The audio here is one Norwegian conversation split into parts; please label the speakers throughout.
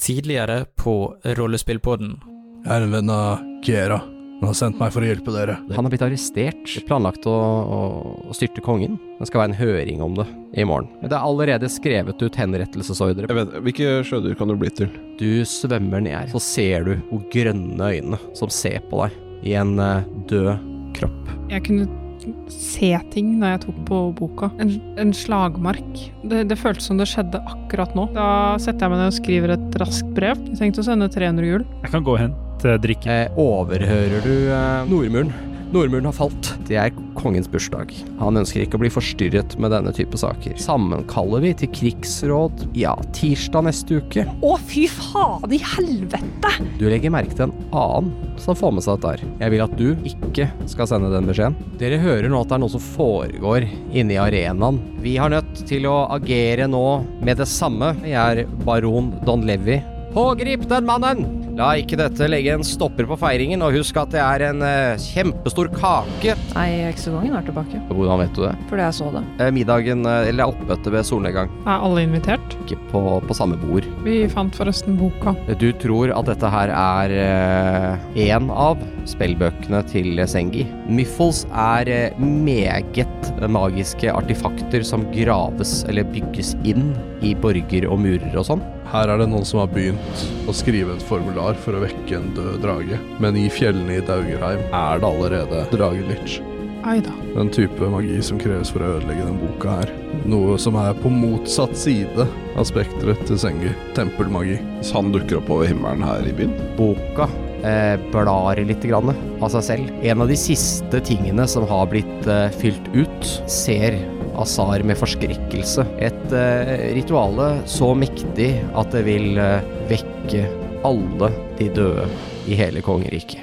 Speaker 1: tidligere på Rollespillpodden.
Speaker 2: Jeg er en venn av Kiera. Han har sendt meg for å hjelpe dere.
Speaker 3: Han har blitt arrestert. Planlagt å, å, å styrte kongen. Det skal være en høring om det i morgen. Det er allerede skrevet ut henrettelsesordre.
Speaker 4: Jeg vet, Hvilke sjødyr kan du bli til?
Speaker 3: Du svømmer ned, så ser du hvor grønne øynene som ser på deg i en eh, død kropp.
Speaker 5: Jeg kunne se ting da jeg tok på boka. En, en slagmark. Det, det føltes som det skjedde akkurat nå. Da setter jeg meg ned og skriver et raskt brev. Jeg tenkte å sende 300 hjul.
Speaker 6: Jeg kan gå og hente drikke.
Speaker 3: Eh, overhører du eh, Nordmuren. Nordmuren har falt. Det er kongens bursdag. Han ønsker ikke å bli forstyrret med denne type saker. Sammenkaller vi til krigsråd ja, tirsdag neste uke.
Speaker 7: Å, fy faen i helvete!
Speaker 3: Du legger merke til en annen som får med seg dette her. Jeg vil at du ikke skal sende den beskjeden. Dere hører nå at det er noe som foregår inne i arenaen. Vi har nødt til å agere nå med det samme. Jeg er baron Don Levi. Pågrip den mannen! La ikke dette legge en stopper på feiringen, og husk at det er en eh, kjempestor kake.
Speaker 8: Nei, heksekongen er tilbake.
Speaker 3: Hvordan vet du det?
Speaker 8: Fordi jeg så det.
Speaker 3: Eh, Middagen, eh, eller oppmøtet ved solnedgang,
Speaker 5: Er alle invitert?
Speaker 3: ikke på, på samme bord.
Speaker 5: Vi fant forresten boka.
Speaker 3: Du tror at dette her er én av spillbøkene til Sengi. Miffles er eh, meget magiske artefakter som graves eller bygges inn i borger og murer og sånn.
Speaker 2: Her er det noen som har begynt å skrive et formular for å vekke en død drage. Men i fjellene i Daugerheim er det allerede dragelich.
Speaker 5: Ai da.
Speaker 2: Den type magi som kreves for å ødelegge den boka her. Noe som er på motsatt side av spekteret til Sengi. Tempelmagi.
Speaker 4: Hvis han dukker opp over himmelen her i byen?
Speaker 3: boka eh, blar litt grann av seg selv. En av de siste tingene som har blitt eh, fylt ut, ser Azar med forskrekkelse. Et eh, rituale så mektig at det vil eh, vekke alle de døde i hele kongeriket.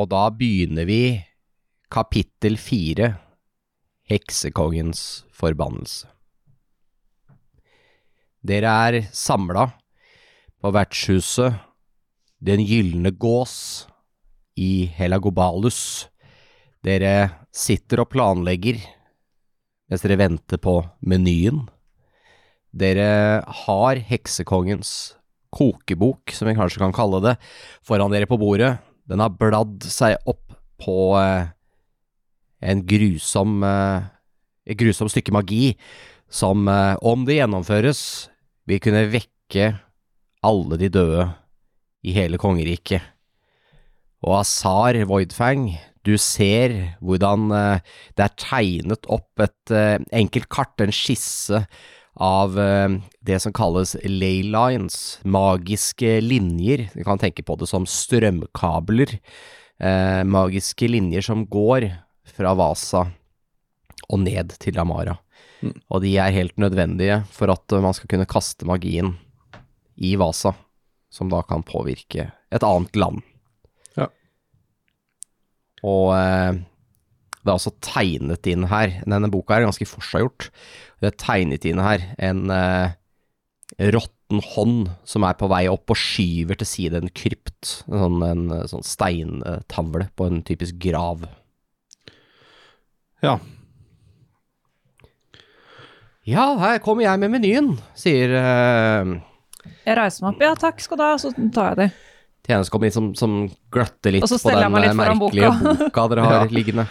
Speaker 3: Og da begynner vi kapittel fire, Heksekongens forbannelse. Dere er samla på vertshuset Den gylne gås i Helagobalus. Dere sitter og planlegger mens dere venter på menyen. Dere har Heksekongens kokebok, som vi kanskje kan kalle det, foran dere på bordet. Den har bladd seg opp på eh, en grusom, eh, et grusomt stykke magi som, eh, om det gjennomføres, vil kunne vekke alle de døde i hele kongeriket. Og Azar Voidfang, du ser hvordan eh, det er tegnet opp et eh, enkelt kart, en skisse, av eh, det som kalles ley lines, magiske linjer. Du kan tenke på det som strømkabler. Eh, magiske linjer som går fra Vasa og ned til Amara. Og de er helt nødvendige for at eh, man skal kunne kaste magien i Vasa, som da kan påvirke et annet land.
Speaker 2: Ja.
Speaker 3: Og eh, det er også tegnet inn her, denne boka er ganske forseggjort, det er tegnet inn her en eh, råtten hånd som er på vei opp og skyver til side en krypt, en sånn, en, eh, sånn steintavle på en typisk grav.
Speaker 2: Ja.
Speaker 3: Ja, her kommer jeg med menyen, sier eh,
Speaker 8: Jeg reiser meg opp. Ja, takk skal du ha. Så tar jeg de.
Speaker 3: tjenestekommen som, som gløtter litt
Speaker 8: Og så
Speaker 3: på
Speaker 8: steller jeg
Speaker 3: den
Speaker 8: meg
Speaker 3: eh,
Speaker 8: litt foran
Speaker 3: merkelige boka. dere har liggende.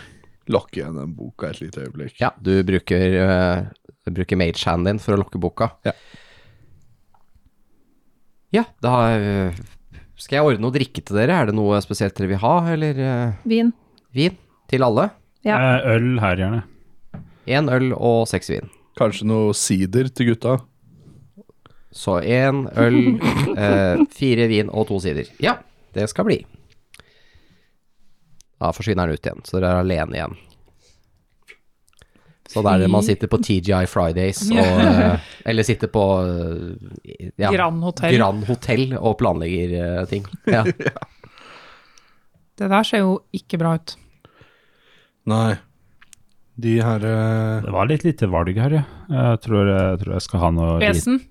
Speaker 2: Lokke igjen den boka et lite øyeblikk.
Speaker 3: Ja, du bruker, eh, du bruker mage-handen din for å lukke boka.
Speaker 2: Ja.
Speaker 3: Ja, da eh, skal jeg ordne noe drikke til dere. Er det noe spesielt dere vil ha, eller eh,
Speaker 8: Vin.
Speaker 3: vin til alle?
Speaker 8: Ja.
Speaker 6: Eh, Øl her, gjerne.
Speaker 3: Én øl og seks vin.
Speaker 2: Kanskje noe sider til gutta?
Speaker 3: Så én øl, eh, fire vin og to sider. Ja, det skal bli. Da forsvinner den ut igjen, så dere er alene igjen. Så da er det man sitter på TGI Fridays og eh, Eller sitter på eh, ja,
Speaker 5: Grand Hotel.
Speaker 3: Grand Hotel og planlegger eh, ting. Ja.
Speaker 5: Det der ser jo ikke bra ut.
Speaker 2: Nei. De her eh,
Speaker 6: Det var litt lite valg her, ja. Jeg tror jeg, tror jeg skal ha noe lite-
Speaker 5: Vesen.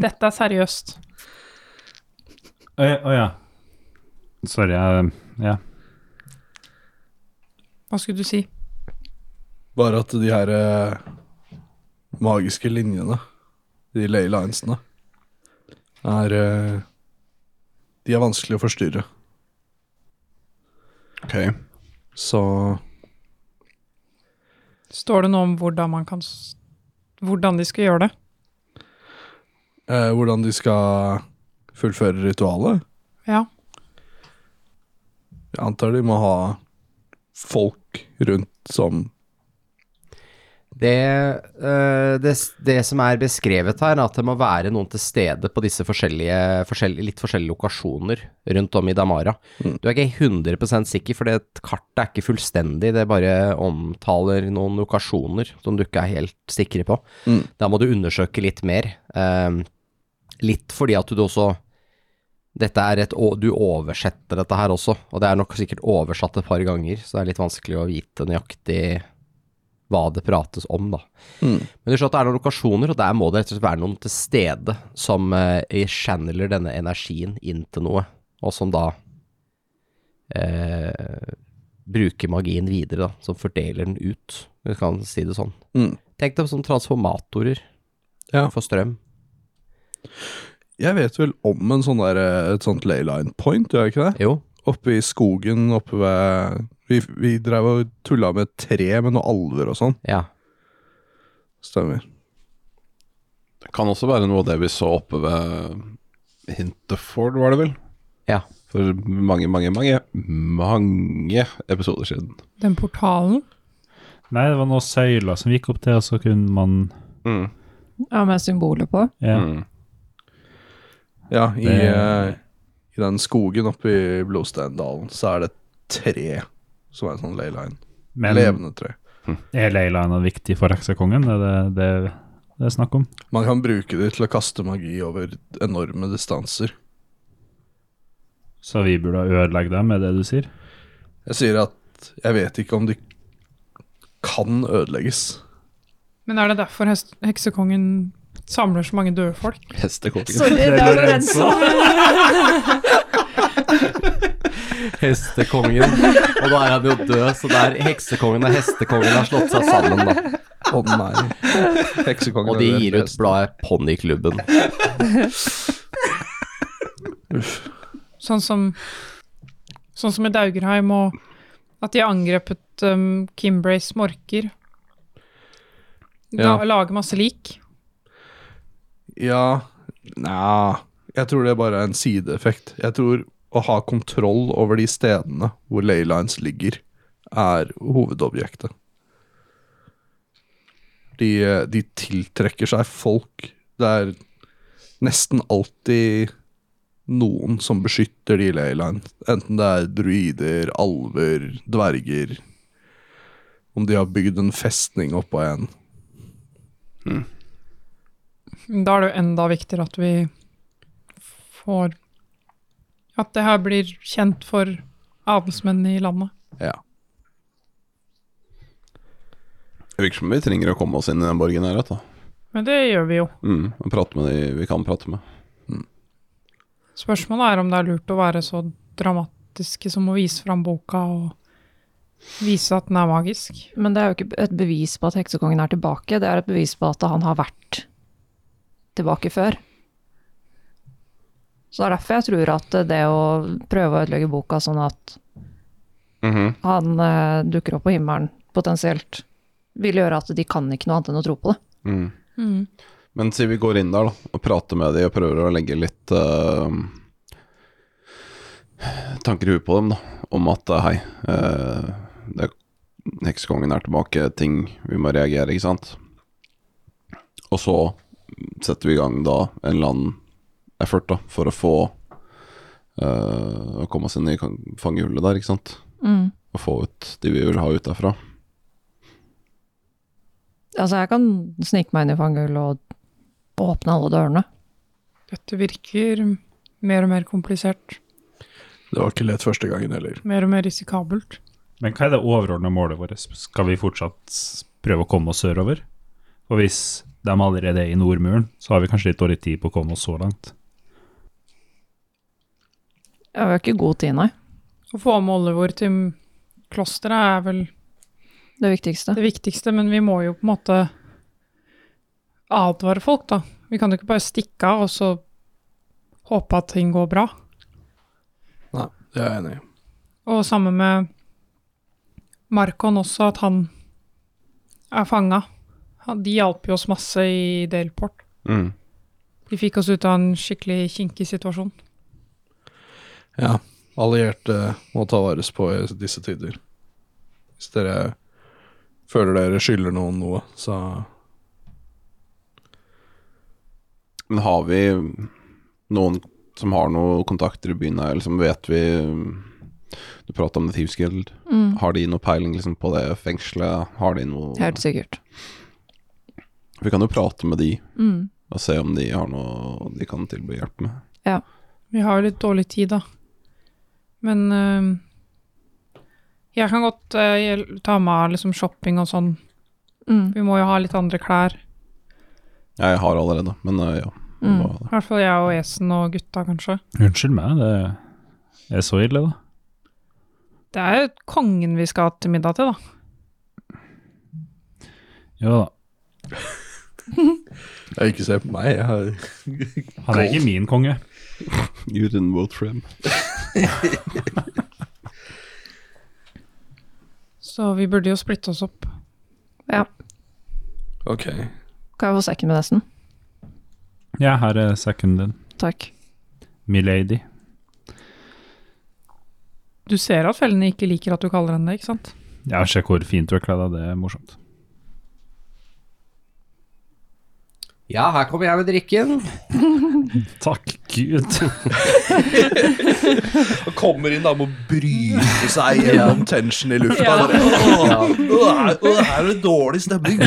Speaker 5: Dette er seriøst.
Speaker 6: Å ja, å ja. Sorry, jeg Ja.
Speaker 5: Hva skulle du si?
Speaker 2: Bare at de her eh, magiske linjene, de ley linesene, er eh, De er vanskelig å forstyrre.
Speaker 4: Ok.
Speaker 2: Så
Speaker 5: Står det noe om hvordan man kan s- Hvordan de skal gjøre det?
Speaker 2: eh, hvordan de skal fullføre ritualet?
Speaker 5: Ja.
Speaker 2: Jeg antar de må ha folk rundt som
Speaker 3: Det, eh, det, det som er beskrevet her, er at det må være noen til stede på disse forskjellige, forskjellige, litt forskjellige lokasjoner rundt om i Damara. Du er ikke 100 sikker, for det kartet er ikke fullstendig. Det bare omtaler noen lokasjoner som du ikke er helt sikre på.
Speaker 2: Mm.
Speaker 3: Da må du undersøke litt mer. Eh, litt fordi at du også dette er et, å- Du oversetter dette her også, og det er nok sikkert oversatt et par ganger, så det er litt vanskelig å vite nøyaktig hva det prates om, da.
Speaker 2: Mm.
Speaker 3: Men du ser at det er noen lokasjoner, og der må det rett og slett være noen til stede som eh, channeler denne energien inn til noe, og som da eh, bruker magien videre, da. Som fordeler den ut, hvis du kan si det sånn.
Speaker 2: Mm.
Speaker 3: Tenk deg som transformatorer
Speaker 2: Ja.
Speaker 3: for strøm.
Speaker 2: Jeg vet vel om en sånn der, eh, et sånt ley line point, gjør jeg ikke det?
Speaker 3: Jo,
Speaker 2: Oppe i skogen oppe ved Vi, vi drev og tulla med et tre med noen alver og sånn.
Speaker 3: ja.
Speaker 2: Stemmer.
Speaker 4: Det kan også være noe av det vi så oppe ved Hinteford, var det vel?
Speaker 3: Ja.
Speaker 4: For mange, mange, mange, mange episoder siden.
Speaker 5: Den portalen?
Speaker 6: Nei, det var noen søyler som gikk opp til, og så kunne man
Speaker 8: Ja, med symboler på.
Speaker 6: ja.
Speaker 4: Mm.
Speaker 2: Ja, i,
Speaker 6: Det-
Speaker 2: eh, i den skogen oppe i Blodsteindalen så er det et tre som er en sånn ley line.
Speaker 6: Men
Speaker 2: Levende tre.
Speaker 6: er Leilana viktig for heksekongen? Er det det det er snakk om?
Speaker 2: Man kan bruke det til å kaste magi over enorme distanser.
Speaker 6: Så vi burde ødelegge dem, er det du sier?
Speaker 2: Jeg sier at jeg vet ikke om de kan ødelegges.
Speaker 5: Men er det derfor hest- heksekongen samler så mange døde folk?
Speaker 4: Hestekongen.
Speaker 8: Sorry, det er sånn. Lorenzo.
Speaker 3: Hestekongen. Og da er han jo død, så der heksekongen og hestekongen har slått seg sammen, da.
Speaker 2: Å nei. Heksekongen
Speaker 3: Og de
Speaker 2: er det
Speaker 3: gir ut
Speaker 2: beste.
Speaker 3: bladet Ponniklubben.
Speaker 5: Sånn som, sånn som i Daugerheim, og at de har angrepet um, Kimbrays morker. La,
Speaker 2: Ja.
Speaker 5: Lage masse lik.
Speaker 2: Ja Nja Jeg tror det bare er en sideeffekt. Jeg tror å ha kontroll over de stedene hvor laylines ligger, er hovedobjektet. De, de tiltrekker seg folk. Det er nesten alltid noen som beskytter de laylines. Enten det er druider, alver, dverger Om de har bygd en festning oppå en.
Speaker 5: Da er det jo enda viktigere at vi får At det her blir kjent for adelsmennene i landet.
Speaker 2: Ja.
Speaker 4: Det virker som vi trenger å komme oss inn i den borgen her, da.
Speaker 5: Men det gjør vi jo.
Speaker 4: Mm. Og prate med de vi kan prate med.
Speaker 5: Spørsmålet er om det er lurt å være så dramatiske som å vise fram boka og vise at den er magisk.
Speaker 8: Men det er jo ikke et bevis på at heksekongen er tilbake, det er et bevis på at han har vært tilbake før. Så det er derfor jeg tror at det å prøve å ødelegge boka sånn at han eh, dukker opp på himmelen potensielt, vil gjøre at de kan ikke noe annet enn å tro på det.
Speaker 4: Mm.
Speaker 5: Mm.
Speaker 4: Men si vi går inn der da, og prater med de og prøver å legge litt eh, tanker i huet på dem da, om at eh, hei, eh, det, heksekongen er tilbake, ting vi må reagere, ikke sant? Og så setter vi i gang da en eller annen effort da, for å få eh, å komme oss inn i kan- fangehullet der, ikke sant? Og få ut de vi vil ha ut derfra.
Speaker 8: Altså, jeg kan snike meg inn i fangehullet og åpne alle dørene.
Speaker 5: Dette virker mer og mer komplisert.
Speaker 2: Det var ikke lett første gangen heller.
Speaker 5: Mer og mer risikabelt.
Speaker 6: Men hva er det overordna målet vårt? Skal vi fortsatt prøve å komme oss sørover? Og hvis de allerede er i nordmuren, så har vi kanskje litt dårlig tid på å komme oss så langt.
Speaker 8: Jeg har jo ikke god tid, nei.
Speaker 5: Å få med Oliver til klosteret er vel
Speaker 8: Det viktigste.
Speaker 5: det viktigste, men vi må jo på en måte advare folk, da. Vi kan jo ikke bare stikke av og så håpe at ting går bra.
Speaker 2: Nei, det er jeg enig i.
Speaker 5: Og sammen med Markon også, at han er fanga. Han- De hjalp jo oss masse i Delport.
Speaker 4: Mm.
Speaker 5: De fikk oss ut av en skikkelig kinkig situasjon.
Speaker 2: Ja, allierte må ta vares på i disse tider. Hvis dere føler dere skylder noen noe, så
Speaker 4: Men har vi noen som har noen kontakter i byen her, eller som vet vi Du prata om The Thieves Guild.
Speaker 8: Mm.
Speaker 4: Har de noe peiling liksom, på det fengselet? Har de noe
Speaker 8: Helt sikkert.
Speaker 4: Vi kan jo prate med de
Speaker 8: Mm.
Speaker 4: og se om de har noe de kan tilby hjelp med.
Speaker 5: Vi har jo litt dårlig tid, da. Men eh, jeg kan godt eh, hjel- ta med liksom shopping og sånn.
Speaker 8: Mm.
Speaker 5: Vi må jo ha litt andre klær.
Speaker 4: Jeg har allerede, men øh, ja.
Speaker 8: Mm.
Speaker 4: hva er det?
Speaker 5: I hvert fall jeg og Esen og gutta, kanskje.
Speaker 6: Unnskyld meg, det er så ille, da.
Speaker 5: Det er jo kongen vi skal til middag til, da.
Speaker 6: Ja da.
Speaker 2: jeg ikke ser på meg. Jeg har
Speaker 6: Han er ikke min konge.
Speaker 4: You didn't vote for him.
Speaker 5: Så vi burde jo splitte oss opp.
Speaker 8: Ja.
Speaker 2: Ok.
Speaker 8: Kan jeg få sekken min nesten?
Speaker 6: Ja, her er sekken din.
Speaker 8: Takk.
Speaker 6: Milady.
Speaker 5: Du ser at fellene ikke liker at du kaller henne det, ikke sant?
Speaker 6: Ja, se hvor fint du er kledd, da. det er morsomt.
Speaker 3: Ja, her kommer jeg med drikken.
Speaker 6: Takk Gud.
Speaker 2: Han kommer inn da med å bryte seg gjennom tension i lufta.
Speaker 5: Ja.
Speaker 2: Bare,
Speaker 3: sånn,
Speaker 2: «Åh, åh, her- åh, her er det dårlig stemning.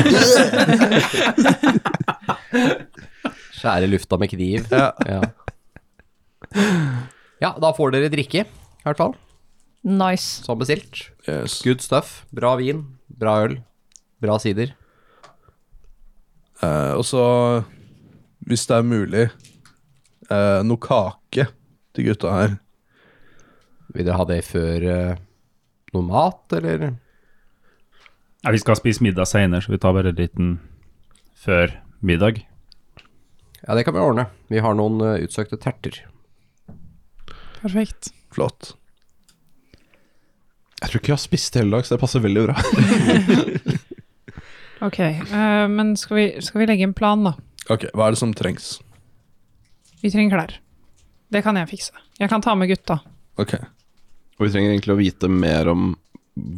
Speaker 3: Skjære lufta med kniv.
Speaker 2: Ja.
Speaker 3: Ja. ja, da får dere drikke, i hvert fall.
Speaker 8: Nice.
Speaker 3: Som bestilt.
Speaker 2: Yes.
Speaker 3: Good stuff. Bra vin, bra øl, bra sider.
Speaker 2: Eh, og så, hvis det er mulig, eh, noe kake til gutta her.
Speaker 3: Vil dere ha det før eh, noe mat, eller?
Speaker 6: Ja, vi skal spise middag seinere, så vi tar bare en liten før middag.
Speaker 3: Ja, det kan vi ordne. Vi har noen eh, utsøkte terter.
Speaker 5: Perfekt.
Speaker 2: Flott.
Speaker 4: Jeg tror ikke jeg har spist hele dag, så det passer veldig bra.
Speaker 5: Ok, eh, men skal vi, skal vi legge en plan, da?
Speaker 2: Ok, hva er det som trengs?
Speaker 5: Vi trenger klær. Det kan jeg fikse. Jeg kan ta med gutta.
Speaker 2: Ok.
Speaker 4: Og vi trenger egentlig å vite mer om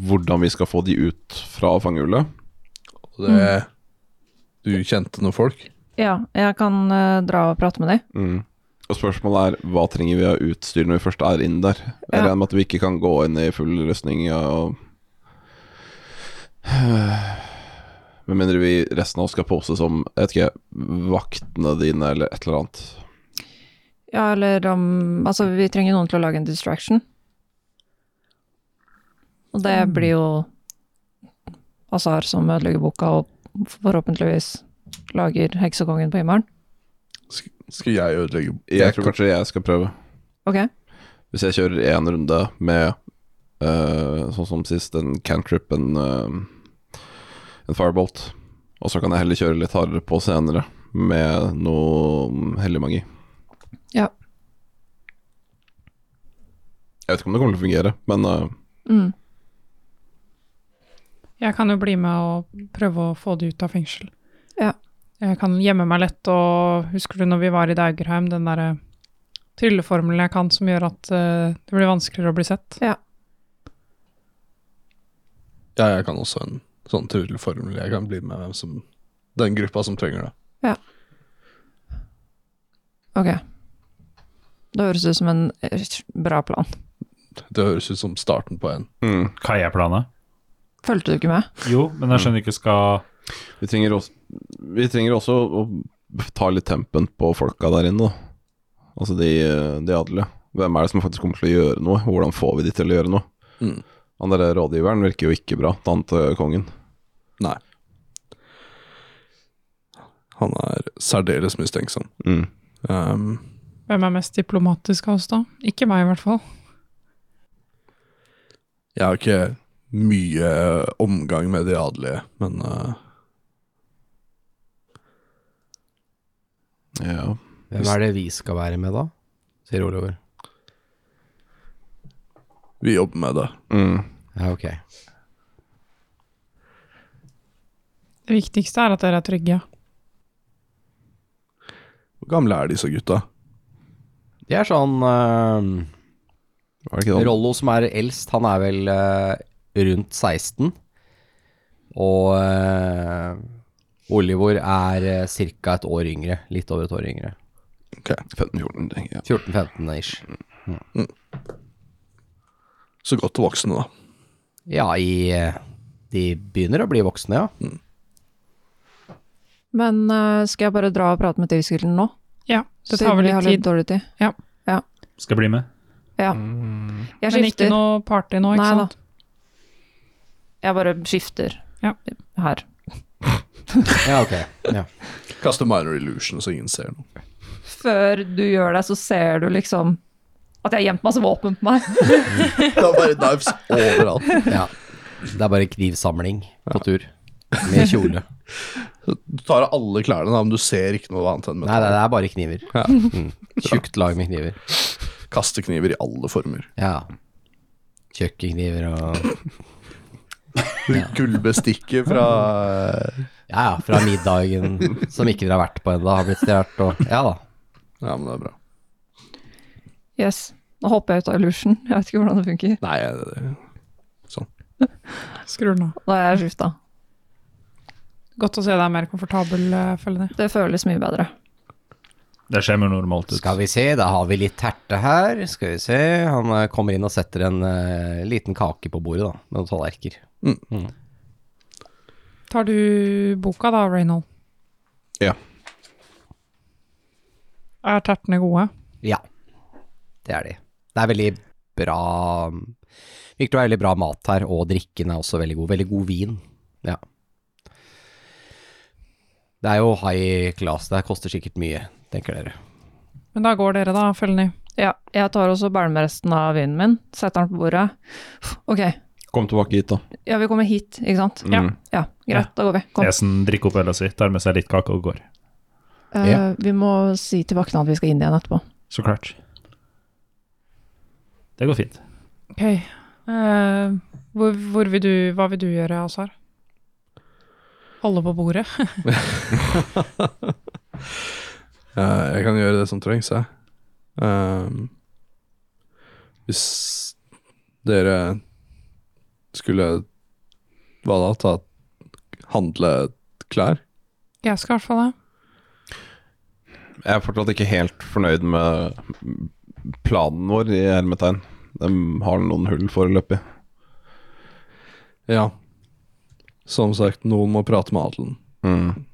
Speaker 4: hvordan vi skal få de ut fra fangehullet.
Speaker 2: Og det Du kjente noen folk?
Speaker 8: Ja, jeg kan eh, dra og prate med deg.
Speaker 4: Mm. Og spørsmålet er hva trenger vi av utstyr når vi først er inne der? Jeg
Speaker 8: Ja.
Speaker 4: regner med at vi ikke kan gå inn i full rustning og Med mindre vi resten av oss skal pose som jeg vet ikke, vaktene dine eller et eller annet.
Speaker 8: Ja, eller om Altså, vi trenger noen til å lage en distraction. Og det blir jo Azar som ødelegger boka, og forhåpentligvis lager heksekongen på himmelen.
Speaker 2: Sk- Skal jeg ødelegge
Speaker 4: Jeg, tror kanskje jeg skal prøve.
Speaker 8: Ok?
Speaker 4: Hvis jeg kjører én runde med eh, sånn som sist, en cantrip, en, eh, en firebolt, og så kan jeg heller kjøre litt hardere på senere med noe hellig magi.
Speaker 8: Ja.
Speaker 4: Jeg vet ikke om det kommer til å fungere, men eh,
Speaker 8: Mm.
Speaker 5: Jeg kan jo bli med og prøve å få de ut av fengsel.
Speaker 8: Ja.
Speaker 5: Jeg kan gjemme meg lett, og husker du når vi var i Daugerheim, den derre trylleformelen jeg kan som gjør at eh, det blir vanskeligere å bli sett?
Speaker 2: Ja, jeg kan også en sånn trylleformel. Jeg kan bli med hvem eh, som Den gruppa som trenger det.
Speaker 8: Ok. Det høres ut som en eh, bra plan.
Speaker 2: Det høres ut som starten på en.
Speaker 4: mm,
Speaker 6: Hva er planen?
Speaker 8: Fulgte du ikke med?
Speaker 6: Jo, men jeg skjønner ikke skal
Speaker 4: vi, trenger også, vi trenger også å ta litt tempen på folka der inne, da. Altså de, de adelige. Hvem er det som faktisk kommer til å gjøre noe? Hvordan får vi de til å gjøre noe?
Speaker 2: Mm.
Speaker 4: Han derre rådgiveren virker jo ikke bra, han til kongen.
Speaker 2: Nei. Han er særdeles mistenksom.
Speaker 4: Mm.
Speaker 2: Ehm,
Speaker 5: Hvem er mest diplomatisk av oss, da? Ikke meg, i hvert fall.
Speaker 2: Jeg har ikke mye omgang med de adelige, men eh,
Speaker 4: Ja.
Speaker 3: Hvem er det vi skal være med, da? Sier Oliver.
Speaker 2: vi jobber med det.
Speaker 4: Mm.
Speaker 3: Ja, ok.
Speaker 5: Det viktigste er at dere er trygge.
Speaker 2: Hvor gamle er disse gutta?
Speaker 3: Det er sånn eh,
Speaker 4: Var det ikke det?
Speaker 3: Rollo som er eldst, han er vel eh, rundt 16. Og eh, Oliver er uh, ca. et år yngre. Litt over et år yngre.
Speaker 4: 15-14, tenker jeg.
Speaker 3: 14-15 ish.
Speaker 2: Så godt voksne, da.
Speaker 3: Ja, i eh, De begynner å bli voksne, ja.
Speaker 8: Men eh, skal jeg bare dra og prate med Tilskilden nå?
Speaker 5: Ja, det tar
Speaker 8: Siden
Speaker 5: vel
Speaker 8: vi har
Speaker 5: litt
Speaker 8: litt
Speaker 5: tid.
Speaker 8: dårlig tid.
Speaker 6: Skal jeg bli med?
Speaker 8: Ja. Jeg
Speaker 5: Men ikke
Speaker 8: skifter.
Speaker 5: noe party nå, ikke
Speaker 8: Nei da.
Speaker 5: sant?
Speaker 8: Jeg bare skifter
Speaker 5: Ja.
Speaker 8: her.
Speaker 3: Ja, ok. Ja.
Speaker 2: Kaste minor illusion så ingen ser noe.
Speaker 8: Før du gjør det, så ser du liksom at jeg har gjemt masse våpen på meg.
Speaker 2: Det er bare knives overalt.
Speaker 3: ja. Det er bare knivsamling på tur. Med kjole.
Speaker 2: Du tar av alle klærne, da, men du ser ikke noe annet enn
Speaker 3: Nei, nei,
Speaker 2: metall.
Speaker 3: det er bare kniver.
Speaker 2: Ja.
Speaker 3: Mm. Tjukt lag med kniver.
Speaker 2: Kastekniver i alle former.
Speaker 3: Ja. Kjøkkenkniver og
Speaker 2: Gullbestikket fra
Speaker 3: Ja, ja, fra middagen som ikke dere har vært på ennå, har blitt stjålet og Ja da.
Speaker 2: Ja, men det er bra.
Speaker 8: Yes. Nå hopper jeg ut av illusion. Jeg vet ikke hvordan det funker.
Speaker 2: Nei, det-
Speaker 5: Skrur den av.
Speaker 8: Da har jeg skifta.
Speaker 5: Godt å se deg mer komfortabel, eh, føler jeg.
Speaker 8: Det føles mye bedre.
Speaker 6: Det ser mer normalt ut.
Speaker 3: Skal vi se, da har vi litt terte her. Skal vi se. Han eh, kommer inn og setter en eh, liten kake på bordet, da, med noen tallerkener.
Speaker 5: Tar du boka da, Reynold?
Speaker 4: Ja.
Speaker 5: Er tertene gode?
Speaker 3: Ja, det er de. Det er veldig bra Virker det er veldig bra mat her, og drikken er også veldig god. Veldig god vin. Ja. Det er jo high class, det her koster sikkert mye, tenker dere.
Speaker 5: Men da går dere, da, følgende.
Speaker 8: Ja, jeg tar også bælmeresten av vinen min, setter den på bordet. Ok,
Speaker 4: Kom tilbake hit, da.
Speaker 8: ja vi kommer hit, ikke sant?
Speaker 4: Mm. Ja.
Speaker 8: Ja, greit, da går vi. Kom.
Speaker 6: Esen drikker opp øla si, tar med seg litt kake og går.
Speaker 8: Eh, vi må si til vaktene at vi skal inn igjen etterpå.
Speaker 6: Så klart. Det går fint.
Speaker 5: Ok. Eh, hvor, hvor vil du, hva vil du gjøre, Azar? Holde på bordet?
Speaker 2: Eh, jeg kan gjøre det som trengs, jeg. Ehm, hvis dere skulle Hva da? Ta Handle klær?
Speaker 5: Jeg skal i hvert fall det.
Speaker 4: Jeg er fortsatt ikke helt fornøyd med planen vår i hermetegn. De har noen hull foreløpig.
Speaker 2: Ja. Som sagt, noen må prate med adelen.
Speaker 4: Mm.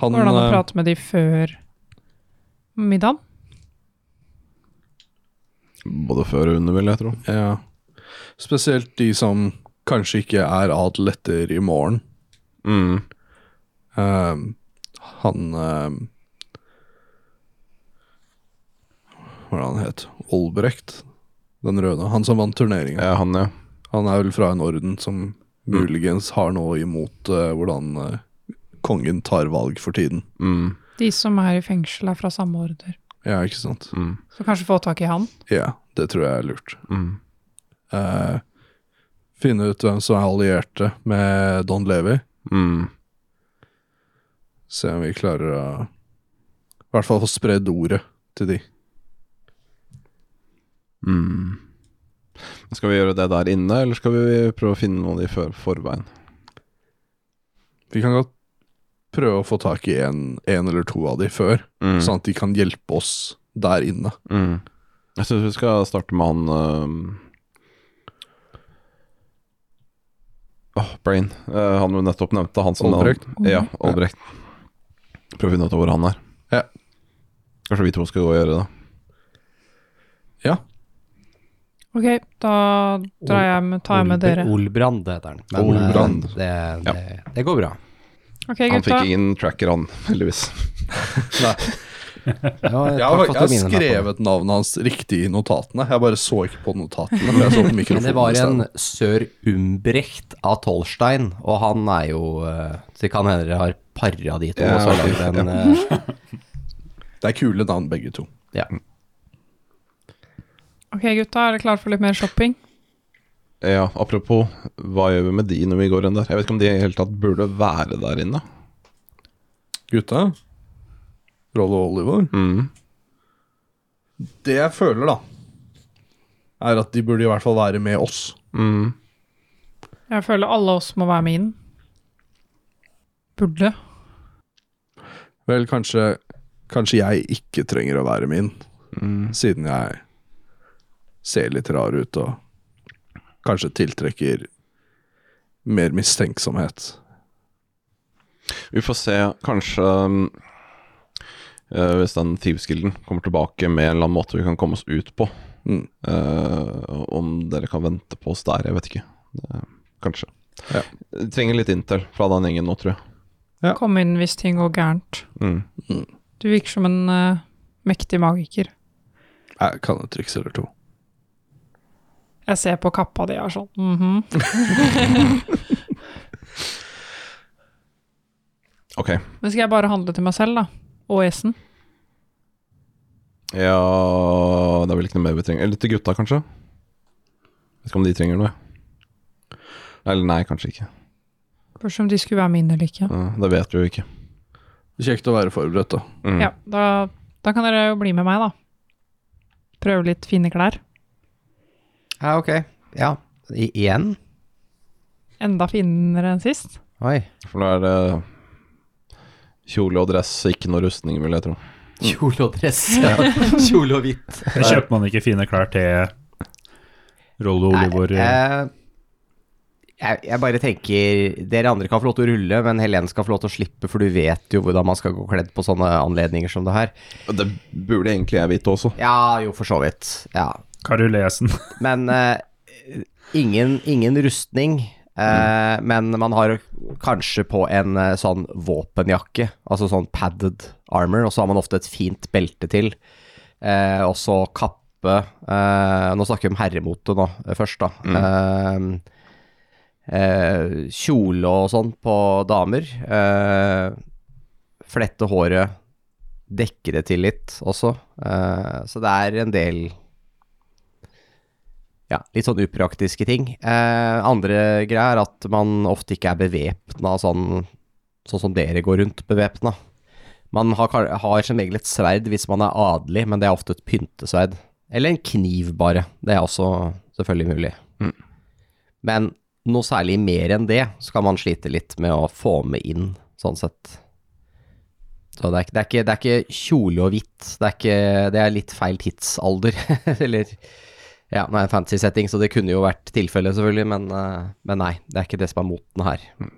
Speaker 2: Han
Speaker 5: Går det an å
Speaker 2: eh,
Speaker 5: prate med de før middagen?
Speaker 4: Både før og under, vil jeg tro.
Speaker 2: Ja. Spesielt de som kanskje ikke er adel etter i morgen.
Speaker 4: Mm.
Speaker 2: Ehm, han ehm, Hva er det han het? Olbrecht? Den røde. Han som vant turneringen.
Speaker 4: Ja, han, ja.
Speaker 2: Han er vel fra en orden som muligens har noe imot eh, hvordan eh, kongen tar valg for tiden.
Speaker 4: Mm.
Speaker 5: De som er i fengsel, er fra samme order.
Speaker 2: Ja, ikke sant?
Speaker 4: Mm.
Speaker 5: Så kanskje få tak i han?
Speaker 2: Ja, det tror jeg er lurt.
Speaker 4: Mm.
Speaker 2: Eh, finne ut hvem som er allierte med Don Levi.
Speaker 4: Mm.
Speaker 2: Se om vi klarer å I hvert fall få spredd ordet til de.
Speaker 4: Mm. Skal vi gjøre det der inne, eller skal vi prøve å finne noen i for forveien?
Speaker 2: Vi kan godt prøve å få tak i en, en eller to av de før,
Speaker 4: Mm.
Speaker 2: sånn at de kan hjelpe oss der inne.
Speaker 4: Mm. Jeg syns vi skal starte med han ehm, eh, Åh, Brain. Eh, han du nettopp nevnte. Han som
Speaker 2: Albrecht?
Speaker 4: ja, Albrecht. Prøv å finne ut hvor han er.
Speaker 2: Ja.
Speaker 4: Kanskje vi to skal gå og gjøre det.
Speaker 5: Ok, da drar jeg med, tar jeg med
Speaker 3: Olbr-
Speaker 5: dere.
Speaker 3: Olbrand heter han. Men,
Speaker 2: Olbrand.
Speaker 3: eh, Det, det, det går bra.
Speaker 5: Ok,
Speaker 4: Han
Speaker 5: gutta.
Speaker 4: fikk ingen tracker, han, heldigvis.
Speaker 2: Nei.
Speaker 3: jeg,
Speaker 2: Jeg har, jeg har skrevet navnet hans riktig i notatene. Jeg bare så ikke på notatene. For jeg så på
Speaker 3: Men
Speaker 2: mikrofonen
Speaker 3: det var
Speaker 2: i stedet.
Speaker 3: en sør Umbrecht av Tolstein, og han er jo eh, Så det kan hende dere har para de to,
Speaker 4: Ja,
Speaker 3: og så har
Speaker 4: ok,
Speaker 3: lagd en eh,
Speaker 2: Det er kule navn, begge to.
Speaker 3: Ja.
Speaker 5: Ok, gutta, er dere klare for litt mer shopping?
Speaker 4: Ja, apropos, hva gjør vi med de når vi går inn der? Jeg vet ikke om de i hele tatt burde være der inne.
Speaker 2: Gutta? Rollo Oliver?
Speaker 4: Mm.
Speaker 2: Det jeg føler, da, er at de burde i hvert fall være med oss.
Speaker 4: Mm.
Speaker 5: Jeg føler alle oss må være med inn. Burde.
Speaker 2: Vel, kanskje Kanskje jeg ikke trenger å være min,
Speaker 4: Mm.
Speaker 2: siden jeg ser litt rar ut og kanskje tiltrekker mer mistenksomhet.
Speaker 4: Vi får se, kanskje mm, eh, Hvis den Thieves-gilden kommer tilbake med en eller annen måte vi kan komme oss ut på.
Speaker 2: Mm.
Speaker 4: Eh, om dere kan vente på oss der, jeg vet ikke. Det, kanskje.
Speaker 2: Ja.
Speaker 4: Vi Trenger litt intel fra den gjengen nå, tror jeg.
Speaker 2: Ja.
Speaker 5: Kom inn hvis ting går gærent.
Speaker 4: Mm.
Speaker 5: Du virker som en eh, mektig magiker.
Speaker 2: Jeg kan et triks eller to.
Speaker 5: Jeg ser på kappa di og er sånn mhm.
Speaker 4: Ok.
Speaker 5: Men skal jeg bare handle til meg selv, da? Og Esen?
Speaker 4: Ja Det er vel ikke noe mer vi trenger. Eller til gutta, kanskje? Vet ikke om de trenger noe. Eller nei, kanskje ikke.
Speaker 5: Spørs om de skulle være med inn eller ikke.
Speaker 4: Eh, det vet vi jo ikke.
Speaker 2: Kjekt å være forberedt, da.
Speaker 4: Mm.
Speaker 5: Ja, da, da kan dere jo bli med meg, da. Prøve litt fine klær.
Speaker 3: ja, ok. Ja. I, igjen?
Speaker 5: Enda finere enn sist.
Speaker 3: Oi.
Speaker 4: For nå er det kjole og dress, ikke noe rustning, vil jeg tro.
Speaker 3: Kjole og dress. Ja. Kjole og hvitt.
Speaker 6: Kjøper man ikke fine klær til Rollo Olivor?
Speaker 3: Eh, jeg, jeg bare tenker Dere andre kan få lov til å rulle, men Helene skal få lov til å slippe, for du vet jo hvordan man skal gå kledd på sånne anledninger som det her.
Speaker 4: Det burde egentlig jeg vite også.
Speaker 3: Ja, jo, for så vidt. Ja.
Speaker 6: Karulesen.
Speaker 3: Men eh, ingen, ingen rustning. eh, Men man har kanskje på en eh, sånn våpenjakke, altså sånn padded armor, og så har man ofte et fint belte til. Eh, og så kappe eh, Nå snakker vi om herremote nå, eh, først, da. Eh, eh, kjole og sånn på damer. Eh, flette håret, dekke det til litt også. Eh, så det er en del ja, litt sånn upraktiske ting. Eh, andre greia er at man ofte ikke er bevæpna sånn, sånn som dere går rundt bevæpna. Man har, kar- har som regel et sverd hvis man er adelig, men det er ofte et pyntesverd. Eller en kniv, bare. Det er også selvfølgelig mulig.
Speaker 4: Mm.
Speaker 3: Men noe særlig mer enn det skal man slite litt med å få med inn, sånn sett. Så det er, ikke- det, er ikke, det er ikke kjole og hvitt. Det er, ikke, det er litt feil tidsalder, eller ja, nå er det en fancy setting, så det kunne jo vært tilfellet, selvfølgelig, men, eh, men nei. Det er ikke det som er moten her.
Speaker 2: Mm.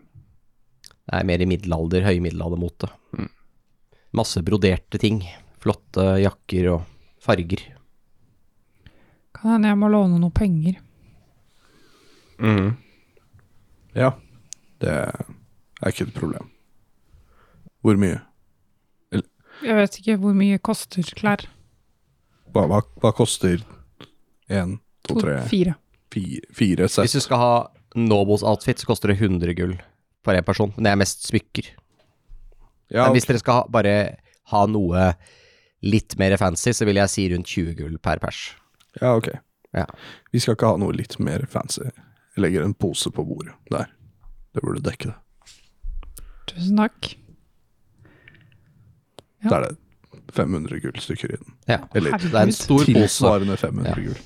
Speaker 3: Det er mer i middelalder, høy middelaldermote.
Speaker 2: Mm.
Speaker 3: Masse broderte ting. Flotte jakker og farger.
Speaker 5: Kan hende jeg må låne noen penger.
Speaker 4: Mm.
Speaker 2: Ja. Det er ikke et problem. Hvor mye?
Speaker 5: Jeg vet ikke hvor mye koster klær.
Speaker 2: Hva, hva, hva koster én, to,
Speaker 5: To,
Speaker 2: tre,
Speaker 5: fire.
Speaker 2: fi- fire
Speaker 3: Hvis
Speaker 2: sett?
Speaker 3: du skal ha Nobos outfit, så koster det 100 gull for én person, men det er mest smykker.
Speaker 2: Ja,
Speaker 3: Men hvis dere skal ha, bare ha noe litt mer fancy, så vil jeg si rundt 20 gull per pers.
Speaker 2: ja, ok.
Speaker 3: Ja.
Speaker 2: Vi skal ikke ha noe litt mer fancy. Jeg legger en pose på bordet der. Det burde dekke det.
Speaker 5: Tusen takk. Ja.
Speaker 2: Der er det 500 gullstykker i den.
Speaker 3: Ja.
Speaker 2: Eller
Speaker 3: Det er en stor pose.
Speaker 2: tilsvarende 500 gull.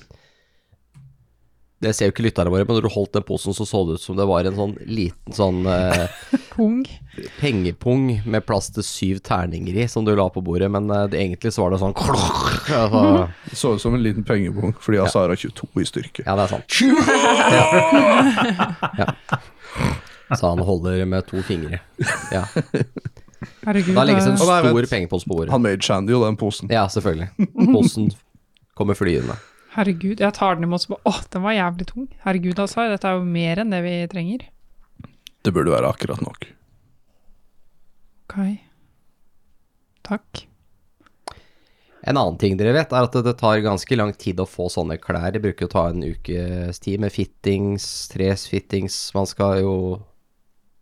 Speaker 3: Det ser jo ikke lytterne våre, men når du holdt den posen, så så det ut som det var en sånn liten sånn eh,
Speaker 5: Pung.
Speaker 3: pengepung med plass til syv terninger i, som du la på bordet, men eh, det, egentlig så var det sånn altså,
Speaker 2: Det så ut som en liten pengebong, fordi Asara har 22 i styrke.
Speaker 3: Ja, det er sant. Ja. ja. Så han holder med to fingre. Ja.
Speaker 5: Herregud. altså.
Speaker 3: Da legges en
Speaker 2: Å, nei,
Speaker 3: stor
Speaker 2: vent.
Speaker 3: pengepose på bordet.
Speaker 2: Han made shandy og den posen.
Speaker 3: Ja, selvfølgelig. Posen kommer flyende.
Speaker 5: Herregud, jeg tar den imot som Å, den var jævlig tung. Herregud, altså. Dette er jo mer enn det vi trenger.
Speaker 2: Det burde være akkurat nok.
Speaker 5: Ok. Takk.
Speaker 3: En annen ting dere vet, er at det tar ganske lang tid å få sånne klær. Det bruker å ta en ukes tid med fittings, tres fittings Man skal jo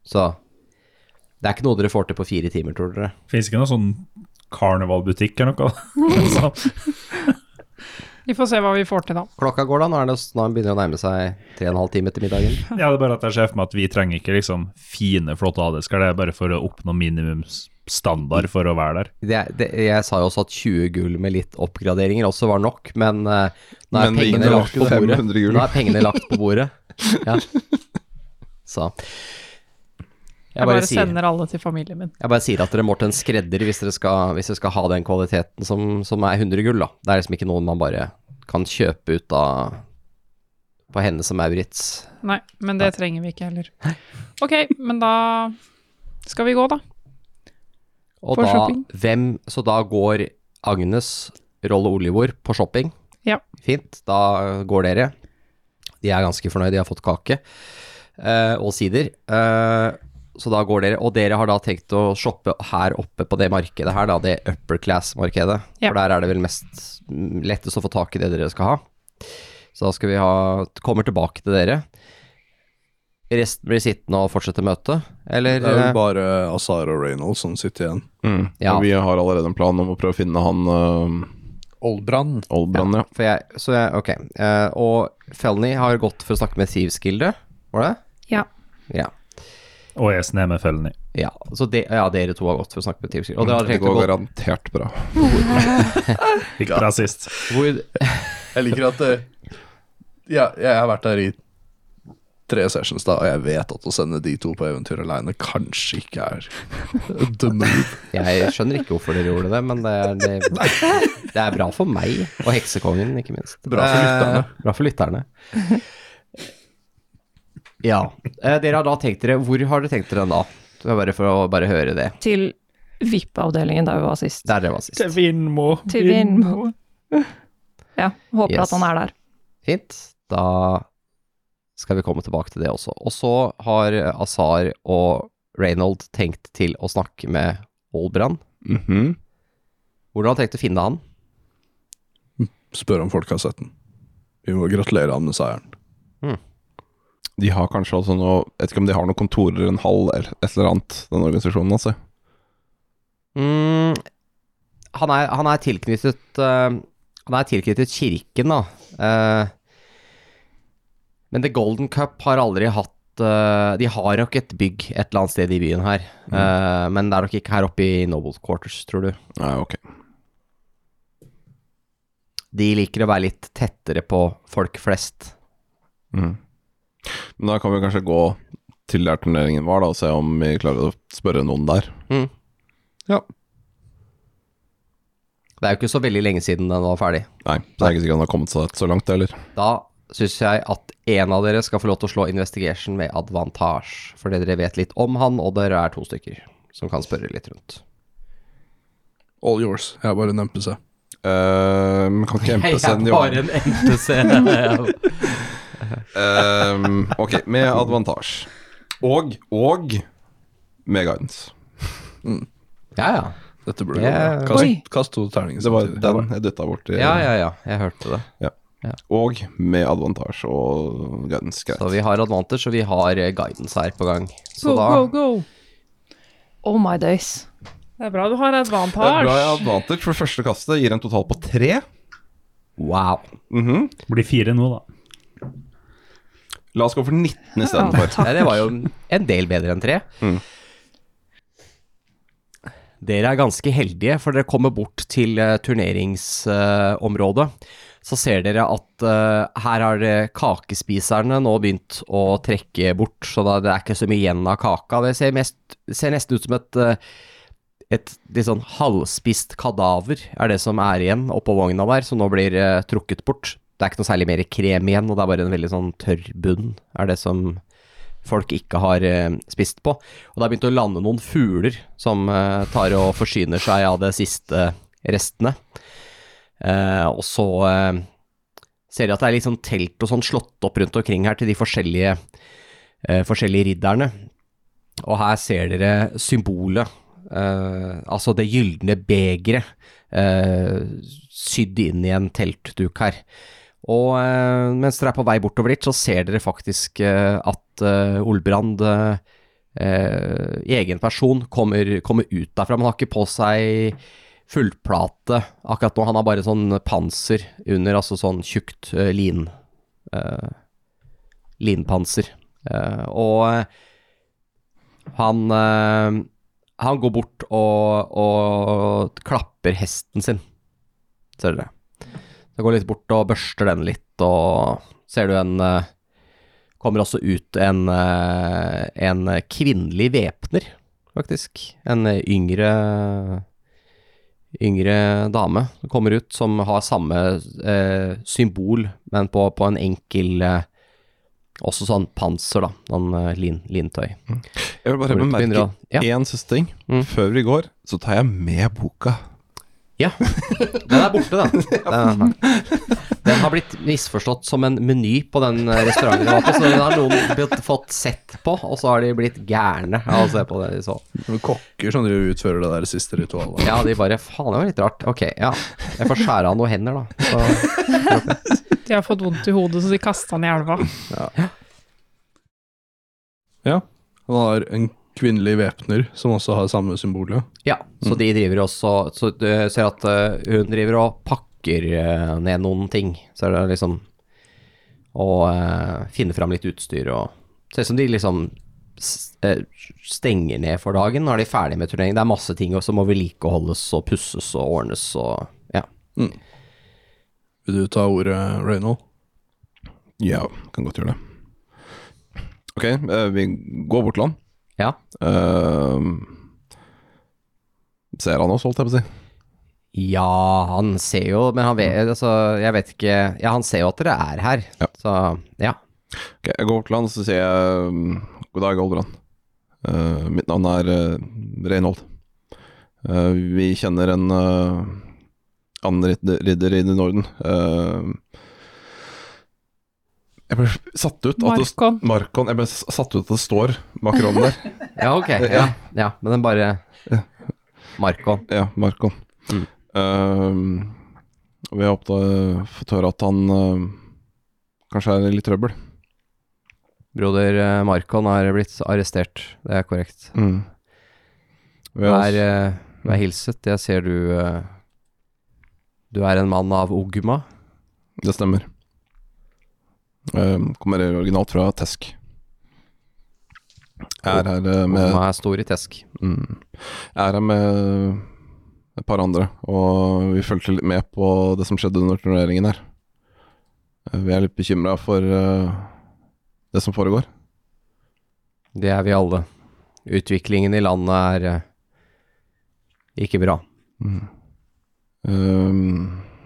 Speaker 3: Så det er ikke noe dere får til på fire timer, tror dere.
Speaker 6: Fins ikke noen sånn karnevalbutikk eller noe? da? sånn,
Speaker 5: Vi får se hva vi får til, da.
Speaker 3: Klokka går da, nå er det snart begynner å nærme seg tre og en halv time til middagen.
Speaker 6: ja, det er bare at jeg ser for meg at vi trenger ikke liksom fine, flotte hadesker. Det er bare for å oppnå minimumsstandard for å være der.
Speaker 3: Det, det, jeg sa jo også at 20 gull med litt oppgraderinger også var nok, men eh, nå er
Speaker 4: Men det gikk
Speaker 3: pengene
Speaker 4: jo
Speaker 3: lagt på
Speaker 4: opp til
Speaker 3: bordet.
Speaker 4: 500 gull.
Speaker 3: Nå er pengene lagt på bordet. Ja. Så
Speaker 5: Jeg bare
Speaker 3: sier,
Speaker 5: sender alle til familien min.
Speaker 3: jeg bare sier at dere må til en skredder hvis dere skal, hvis dere skal ha den kvaliteten som, som er 100 gull, da. Det er liksom ikke noe man bare kan kjøpe ut av på henne som Maurits.
Speaker 5: Nei, men det trenger vi ikke heller. Ok, men da skal vi gå, da.
Speaker 3: Og
Speaker 5: På
Speaker 3: da,
Speaker 5: shopping.
Speaker 3: hvem, så da går Agnes, Rolle Olivor på shopping.
Speaker 5: Ja.
Speaker 3: Fint, da går dere. De er ganske fornøyde, de har fått kake eh, og sider. Eh, så da går dere, og dere har da tenkt å shoppe her oppe på det markedet her, da, det upper class-markedet.
Speaker 5: Ja.
Speaker 3: For der er det vel mest mm, lettest å få tak i det dere skal ha. Så da skal vi ha Kommer tilbake til dere. Resten blir sittende og fortsette møtet, eller?
Speaker 2: Det er
Speaker 3: eh,
Speaker 2: vel bare Azar og Reynolds som sitter igjen.
Speaker 4: Mm.
Speaker 3: Ja.
Speaker 4: Og vi har allerede en plan om å prøve å finne han uh,
Speaker 2: Oldbrand.
Speaker 4: Oldbrand, ja.
Speaker 3: For jeg, så jeg, ok. Eh, og Felny har gått for å snakke med Thieves Guilde, var det?
Speaker 7: Ja.
Speaker 3: Ja.
Speaker 6: Og jeg sner med fellen i.
Speaker 3: ja. Så de, ja, dere to har gått for å snakke med Thieves Guilde. Og dere har
Speaker 4: Det
Speaker 3: tenkt å
Speaker 4: går
Speaker 3: gå
Speaker 4: garantert bra.
Speaker 6: Fikk bra sist.
Speaker 3: hvor,
Speaker 2: Jeg liker at eh, ja, Jeg har vært der i tre sessions, da, og jeg vet at å sende de to på eventyr aleine kanskje ikke er the move.
Speaker 3: Jeg skjønner ikke hvorfor dere gjorde det, men det er, det, det er bra for meg og heksekongen, ikke minst.
Speaker 2: Bra for lytterne.
Speaker 3: Eh, bra for lytterne. Ja. Eh, dere har da tenkt dere Hvor har dere tenkt dere den da? Det var Bare for å bare høre det.
Speaker 8: Til VIP-avdelingen der vi var sist.
Speaker 3: Der dere var sist.
Speaker 6: Vinmo.
Speaker 8: Til Vinmo. Ja, håper
Speaker 3: Yes.
Speaker 8: at han er der.
Speaker 3: Fint. Da skal vi komme tilbake til det også. Og så har Azar og Reynold tenkt til å snakke med Olbrand.
Speaker 4: Mhm.
Speaker 3: Hvordan har han tenkt å finne han?
Speaker 2: Spør om folk har sett den. Vi må gratulere han med seieren.
Speaker 4: De har kanskje også noe Jeg vet ikke om de har noen kontorer, en hall eller et eller annet, den organisasjonen, altså.
Speaker 3: Mm, han, er, han er tilknyttet eh, Han er tilknyttet kirken, da. Eh, men The Golden Cup har aldri hatt eh, De har nok et bygg et eller annet sted i byen her. Eh, men det er nok ikke her oppe i Noble Quarters, tror du.
Speaker 4: Nei, ok.
Speaker 3: De liker å være litt tettere på folk flest.
Speaker 4: Mhm. Men da kan vi kanskje gå til der turneringen var, da, og se om vi klarer å spørre noen der.
Speaker 3: Det er jo ikke så veldig lenge siden den var ferdig.
Speaker 4: Nei, det er ikke sikkert han har kommet seg så langt, eller?
Speaker 3: Da syns jeg at en av dere skal få lov til å slå investigation med advantage, fordi dere vet litt om han, og dere er to stykker som kan spørre litt rundt.
Speaker 2: All yours. Jeg er bare en MPC.
Speaker 4: Eh, men kan ikke MPC-en jobbe
Speaker 3: en MPC.
Speaker 4: Eh, Ok, med advantage. Og, og med guidance.
Speaker 3: ja, ja.
Speaker 2: Dette burde
Speaker 3: Ja.
Speaker 2: gå bra.
Speaker 8: Oi.
Speaker 2: Kast, kast to terninger
Speaker 4: Det var
Speaker 2: samtidig.
Speaker 4: den jeg dytta bort. i-
Speaker 3: Ja, ja, ja. Jeg hørte det.
Speaker 4: Og med advantage og guidance. Greit.
Speaker 3: Så vi har advantage, og vi har eh, guidance her på gang. Så
Speaker 5: Go,
Speaker 3: da
Speaker 5: go, go!
Speaker 8: Oh my days.
Speaker 5: Det er bra du har
Speaker 4: Det er bra jeg har
Speaker 5: advantage.
Speaker 4: advantage for første kastet. Gir en total på tre.
Speaker 3: Wow.
Speaker 4: Mhm.
Speaker 6: Blir fire nå, da.
Speaker 4: La oss gå for 19 istedenfor.
Speaker 3: Ja, det var jo en del bedre enn tre. Dere er ganske heldige, for dere kommer bort til eh, turneringsområdet. så ser dere at eh, her har eh, kakespiserne nå begynt å trekke bort, så da, det er ikke så mye igjen av kaka. Det ser, mest, ser nesten ut som et, eh, et litt sånn halvspist kadaver, er det som er igjen oppå vogna der, som nå blir eh, trukket bort. Det er ikke noe særlig mer krem igjen, og det er bare en veldig sånn tørr bunn, er det som folk ikke har eh, spist på. Og det har begynt å lande noen fugler som eh, tar og forsyner seg av de siste restene. Eh, og så eh, ser de at det er litt sånn telt og sånn slått opp rundt omkring her til de forskjellige, eh, forskjellige ridderne. Og her ser dere symbolet eh, altså det gylne begeret, eh, sydd inn i en teltduk her. Og eh, mens dere er på vei bortover dit, så ser dere faktisk eh, at eh, Olbrand eh, eh, i egen person kommer, kommer ut derfra. Men han har ikke på seg fullplate akkurat nå. Han har bare sånn panser under, altså sånn tjukt eh, lin. Eh, linpanser. Eh, og eh, han eh, Han går bort og, og klapper hesten sin, ser dere. Så går litt bort og børster den litt, og ser du en eh, Kommer også ut en, eh, en kvinnelig væpner, faktisk. En eh, yngre Yngre dame som kommer ut, som har samme eh, symbol, men på, på en enkel eh, Også sånn panser, da. Sånn eh, lin, lintøy.
Speaker 4: Jeg vil
Speaker 3: Hvor
Speaker 4: bare
Speaker 3: du
Speaker 4: bemerke
Speaker 3: begynner å- ja.
Speaker 4: én siste ting.
Speaker 3: Mm.
Speaker 4: Før vi går, så tar jeg med boka.
Speaker 3: Den er borte, den. Den, er borte. den har blitt misforstått som en meny på den eh, restauranten. jeg var på, Så den har noen blitt fått sett på, og så har de blitt gærne av å se på det de så.
Speaker 2: Noen kokker som driver og utfører det der siste ritualet.
Speaker 3: Ja, de bare Faen, det var litt rart. Ok, ja. Jeg får skjære av noen hender, da. Så,
Speaker 5: De har fått vondt i hodet, så de kasta den i elva.
Speaker 2: Han har en kvinnelig væpner som også har samme symbol. ja.
Speaker 3: ja, så de driver også Så du ser at eh, hun driver og pakker eh, ned noen ting. Så er det liksom Og eh, finner fram litt utstyr og Ser ut som de liksom s- eh, stenger ned for dagen. Nå er de ferdige med turneringen. Det er masse ting også som må vedlikeholdes og pusses og ordnes og Ja.
Speaker 2: Vil du ta ordet, Reynold?
Speaker 4: Ja, kan godt gjøre det. Ok, eh, vi går bort til han.
Speaker 3: Ja.
Speaker 4: Eh, ser han oss, holdt jeg på å si.
Speaker 3: Ja, han ser jo Men han vet altså, Jeg vet ikke Ja, han ser jo at dere er her.
Speaker 4: Ja.
Speaker 3: Så ja.
Speaker 4: Ok, jeg går bort til han, så sier jeg um, god dag, Olbrand. Eh, mitt navn er eh, Reinhold. Eh, vi kjenner en eh, annen ridder, ridder i Norden. Eh, jeg ble satt ut at det,
Speaker 5: Markon.
Speaker 4: Markon, jeg ble s- satt ut at det står Macron der.
Speaker 3: Ja, ok. Ja,
Speaker 4: Ja.
Speaker 3: ja men den bare Marco.
Speaker 4: Ja, Markon.
Speaker 3: Mm.
Speaker 4: Eh, og vi har oppda- fått høre at han eh, kanskje er i litt trøbbel.
Speaker 3: Broder eh, Markon har blitt arrestert. Det er korrekt.
Speaker 4: Mm. Vi har
Speaker 3: Vær, eh, vær hilset. Jeg ser du eh, Du er en mann av Ogma.
Speaker 4: Det stemmer. Ehm, kommer originalt fra Tesk. Jeg er her eh, med,
Speaker 3: Ogma er stor i tesk.
Speaker 4: mm, jeg er her med et par andre, og vi fulgte litt med på det som skjedde under turneringen her. Eh, Vi er litt bekymra for eh, det som foregår.
Speaker 3: Det er vi alle. Utviklingen i landet er eh, ikke bra.
Speaker 4: Ehm,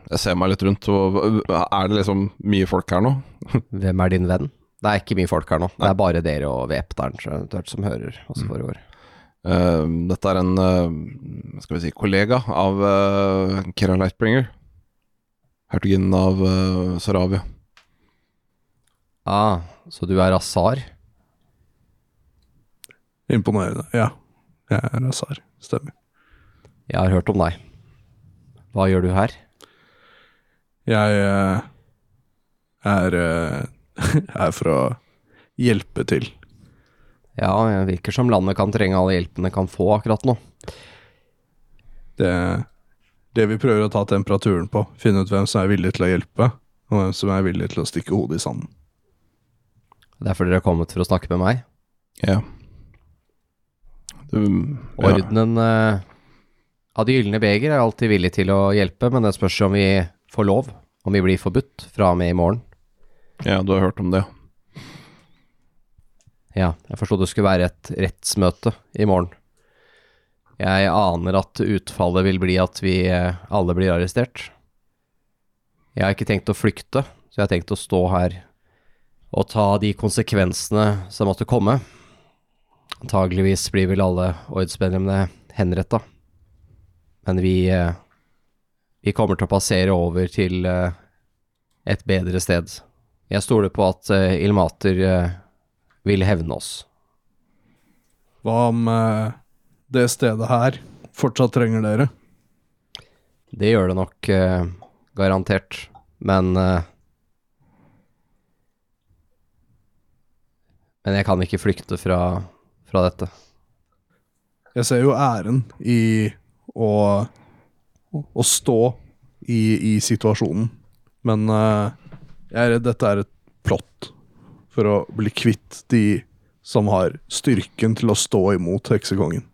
Speaker 4: jeg ser meg litt rundt, og er det liksom mye folk her nå?
Speaker 3: Hvem er din venn? Det er ikke mye folk her nå. Det er bare dere og væpneren så eventuelt som hører hva som foregår.
Speaker 4: Ehm, dette er en eh, skal vi si, kollega av uh, Kira Lightbringer. Hertuginnen av eh, Sarabia.
Speaker 3: Ah, så du er Azar?
Speaker 2: Imponerende. Ja, jeg er Azar. Stemmer.
Speaker 3: Jeg har hørt om deg. Hva gjør du her?
Speaker 2: Jeg eh, er eh, her for å hjelpe til.
Speaker 3: Ja, jeg virker som landet kan trenge alle hjelpen det kan få akkurat nå.
Speaker 2: Det, det vi prøver å ta temperaturen på, finne ut hvem som er villig til å hjelpe, og hvem som er villig til å stikke hodet i sanden.
Speaker 3: Derfor dere har kommet for å snakke med meg.
Speaker 4: Ja. Du, ja.
Speaker 3: Ordenen eh, av Det gylne beger er alltid villig til å hjelpe, men det spørs om vi får lov. Om vi blir forbudt fra og med i morgen.
Speaker 4: ja, du har hørt om det.
Speaker 3: Ja, jeg forstod det skulle være et rettsmøte i morgen. Jeg aner at utfallet vil bli at vi eh, alle blir arrestert. Jeg har ikke tenkt å flykte, så jeg har tenkt å stå her og ta de konsekvensene som måtte komme. Antageligvis blir vel alle ordensmedlemmene henretta. Men vi, eh, vi kommer til å passere over til eh, et bedre sted. Jeg stoler på at eh, Ilmater eh, vil hevne oss.
Speaker 2: Hva om eh, det stedet her fortsatt trenger dere.
Speaker 3: Det gjør det nok, eh, garantert. Men eh, Men jeg kan ikke flykte fra, fra dette.
Speaker 2: Jeg ser jo æren i å, å stå i, i situasjonen, men eh, jeg er redd dette er et plott for å bli kvitt de som har styrken til å stå imot heksekongen.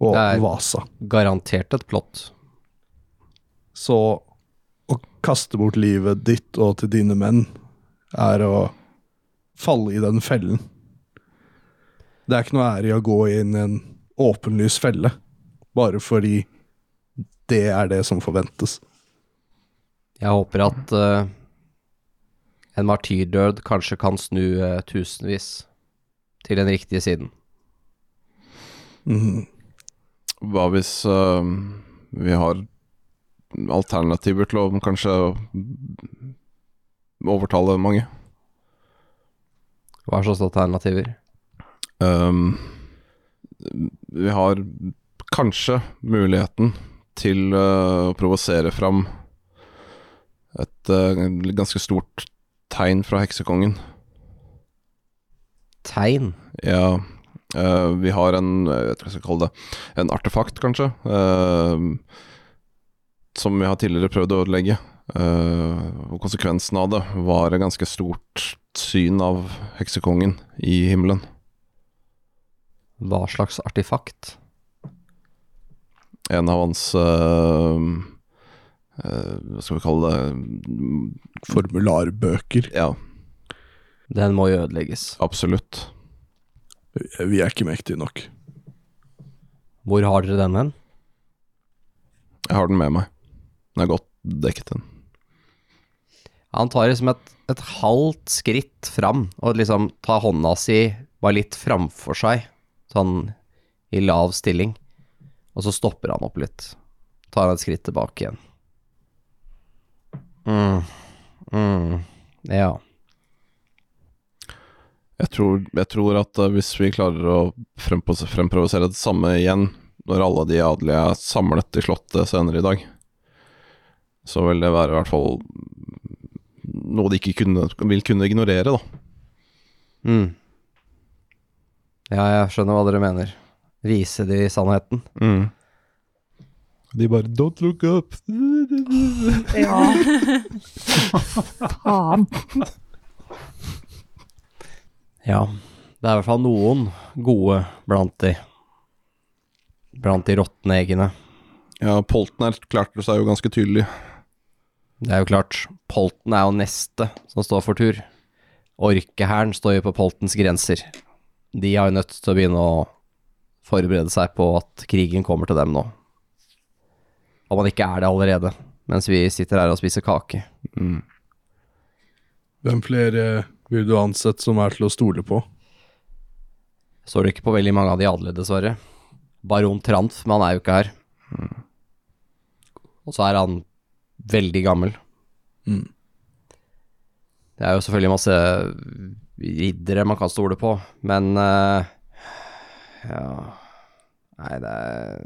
Speaker 2: Og
Speaker 3: Det er-
Speaker 2: Vasa.
Speaker 3: Garantert et plott.
Speaker 2: Så å kaste bort livet ditt og til dine menn er å falle i den fellen. Det er ikke noe ære i å gå inn i en åpenlys felle, bare fordi det er det som forventes.
Speaker 3: Jeg håper at eh, en martyrdød kanskje kan snu eh, tusenvis til den riktige siden.
Speaker 2: Mhm.
Speaker 4: Hva hvis eh, vi har alternativer til å kanskje overtale mange?
Speaker 3: Hva slags alternativer?
Speaker 4: Ehm, vi har kanskje muligheten til eh, å provosere fram et eh, ganske stort tegn fra heksekongen.
Speaker 3: Tegn?
Speaker 4: Ja, eh, vi har en Jeg vet ikke hva jeg skal kalle det. En artefakt, kanskje. eh, som vi har tidligere prøvd å ødelegge. Eh, og konsekvensen av det var et ganske stort syn av heksekongen i himmelen.
Speaker 3: Hva slags artifakt?
Speaker 4: En av hans eh, eh, Hva skal vi kalle det mm,
Speaker 2: Formularbøker.
Speaker 4: Ja,
Speaker 3: Den må jo ødelegges.
Speaker 4: absolutt.
Speaker 2: Vi er ikke mektige nok.
Speaker 3: Hvor har dere den hen?
Speaker 4: Jeg har den med meg. Den er godt dekket, den.
Speaker 3: Han tar liksom et, et halvt skritt fram, og liksom tar hånda si bare litt framfor seg, sånn i lav stilling. Og så stopper han opp litt. Tar han et skritt tilbake igjen. Mm. Mm. Ja.
Speaker 4: Jeg tror, jeg tror at eh, hvis vi klarer å frempos- fremprovosere det samme igjen, når alle de adelige er samlet i Slottet senere i dag, så vil det være i hvert fall noe de ikke kunne, vil kunne ignorere, da.
Speaker 3: Mm. Ja, jeg skjønner hva dere mener. Vise de sannheten.
Speaker 4: De bare 'don't look up'.
Speaker 7: Ja.
Speaker 8: Faen.
Speaker 3: Ja. Det er i hvert fall noen gode blant de. Blant de råtne eggene.
Speaker 4: Ja, Polten erklærte seg jo ganske tydelig.
Speaker 3: Det er jo klart, Polten er jo neste som står for tur. Orkehæren står jo på Poltens grenser. De er jo nødt til å begynne å forberede seg på at krigen kommer til dem nå. Om man ikke er det allerede, mens vi sitter her og spiser kake.
Speaker 2: Hvem flere vil du ansette som er til å stole på?
Speaker 3: Står det ikke på veldig mange av de adelige, dessverre. Baron Tranf, men han er jo ikke her. Og så er han veldig gammel.
Speaker 2: Mm.
Speaker 3: Det er jo selvfølgelig masse riddere man kan stole på, men eh, Ja Nei, det er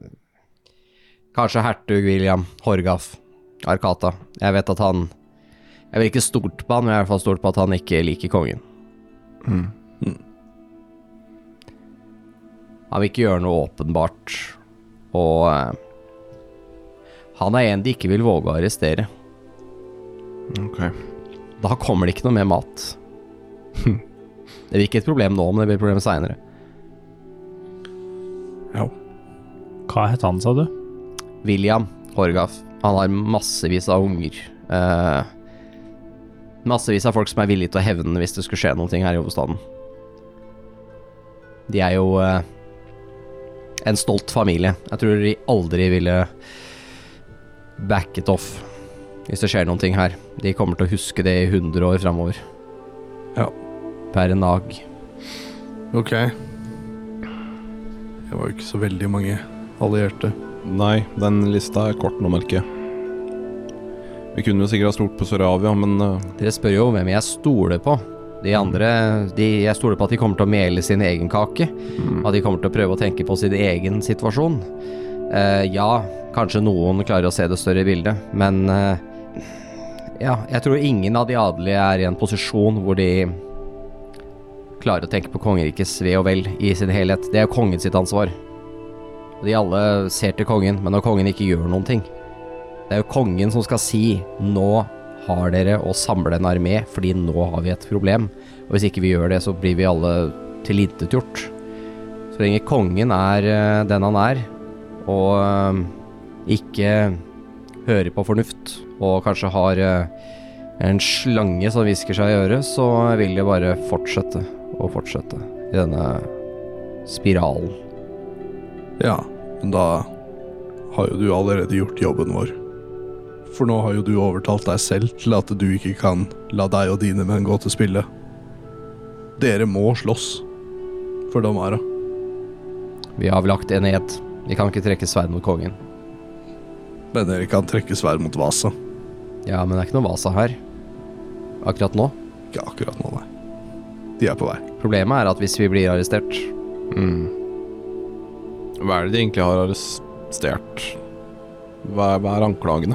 Speaker 3: Kanskje hertug William Horgaf Arkata. Jeg vet at han Jeg vil ikke stolt på han, men jeg er i hvert fall stolt på at han ikke liker kongen. Han vil ikke gjøre noe åpenbart, og eh, han er en de ikke vil våge å arrestere.
Speaker 4: Ok.
Speaker 3: Da kommer det ikke noe mer mat. Det blir ikke et problem nå, men det blir et problem seinere.
Speaker 6: Hva het han, sa du?
Speaker 3: William Horgaf, han har massevis av unger. Eh, massevis av folk som er villige til å hevne hvis det skulle skje noe her i hovedstaden. De er jo eh, en stolt familie. Jeg tror de aldri ville backet off hvis det skjer noen ting her. De kommer til å huske det i 100 år framover.
Speaker 2: Ja.
Speaker 3: Per nag.
Speaker 2: Ok. Jeg var jo ikke så veldig mange allierte.
Speaker 4: Nei, den lista er kort nå, merker jeg. Vi kunne jo sikkert ha stolt på Søravia, men eh,
Speaker 3: Dere spør jo hvem jeg stoler på. De andre de, Jeg stoler på at de kommer til å mele sin egen kake. At de kommer til å prøve å tenke på sin egen situasjon. Eh, ja, kanskje noen klarer å se det større bildet, men eh, Ja, jeg tror ingen av de adelige er i en posisjon hvor de klarer å tenke på kongerikets ve og vel i sin helhet. Det er kongen sitt ansvar. Og de alle ser til kongen, men når kongen ikke gjør noen ting Det er jo kongen som skal si 'nå har dere å samle en armé, fordi nå har vi et problem'. Og hvis ikke vi gjør det, så blir vi alle tilintetgjort. Så lenge kongen er eh, den han er, og eh, ikke hører på fornuft, og kanskje har eh, en slange som hvisker seg i øret, så vil det bare fortsette og fortsette i denne spiralen.
Speaker 2: Ja, men da har jo du allerede gjort jobben vår. For nå har jo du overtalt deg selv til at du ikke kan la deg og dine menn gå til spille. Dere må slåss for Damara.
Speaker 3: Vi har avlagt en ed. Vi kan ikke trekke sverd mot kongen.
Speaker 2: Men dere kan trekke sverd mot Vasa.
Speaker 3: Ja, men det er ikke noe Vasa her. Akkurat nå.
Speaker 2: Ikke akkurat nå, nei. De er på vei.
Speaker 3: Problemet er at hvis vi blir arrestert
Speaker 4: Mm. Hva er det de egentlig har arrestert? Hva er, hva er anklagene?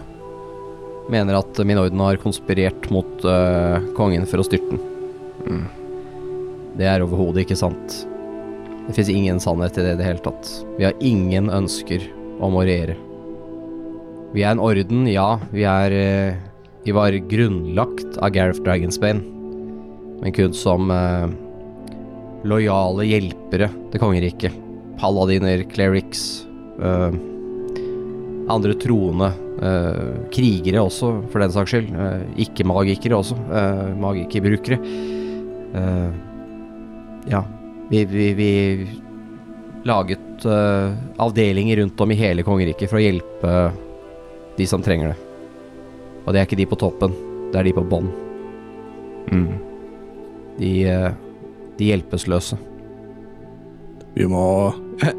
Speaker 3: Mener at Minorden har konspirert mot øh, kongen for å styrte den.
Speaker 4: Mm.
Speaker 3: Det er overhodet ikke sant. Det fins ingen sannhet i det i det hele tatt. Vi har ingen ønsker om å regjere. Vi er en orden, ja. Vi er øh, Vi var grunnlagt av Gareth Dragonsbane, men kun som øh, lojale hjelpere til kongeriket. Paladiner, clerics øh, Andre troende Eh, krigere også, for den saks skyld. Eh, Ikke-magikere også. Eh, Magikerbrukere. Eh, ja. Vi, vi, vi laget eh, avdelinger rundt om i hele kongeriket for å hjelpe de som trenger det. Og det er ikke de på toppen, det er de på bånn.
Speaker 4: Mm.
Speaker 3: De, eh, de hjelpeløse.
Speaker 2: Vi må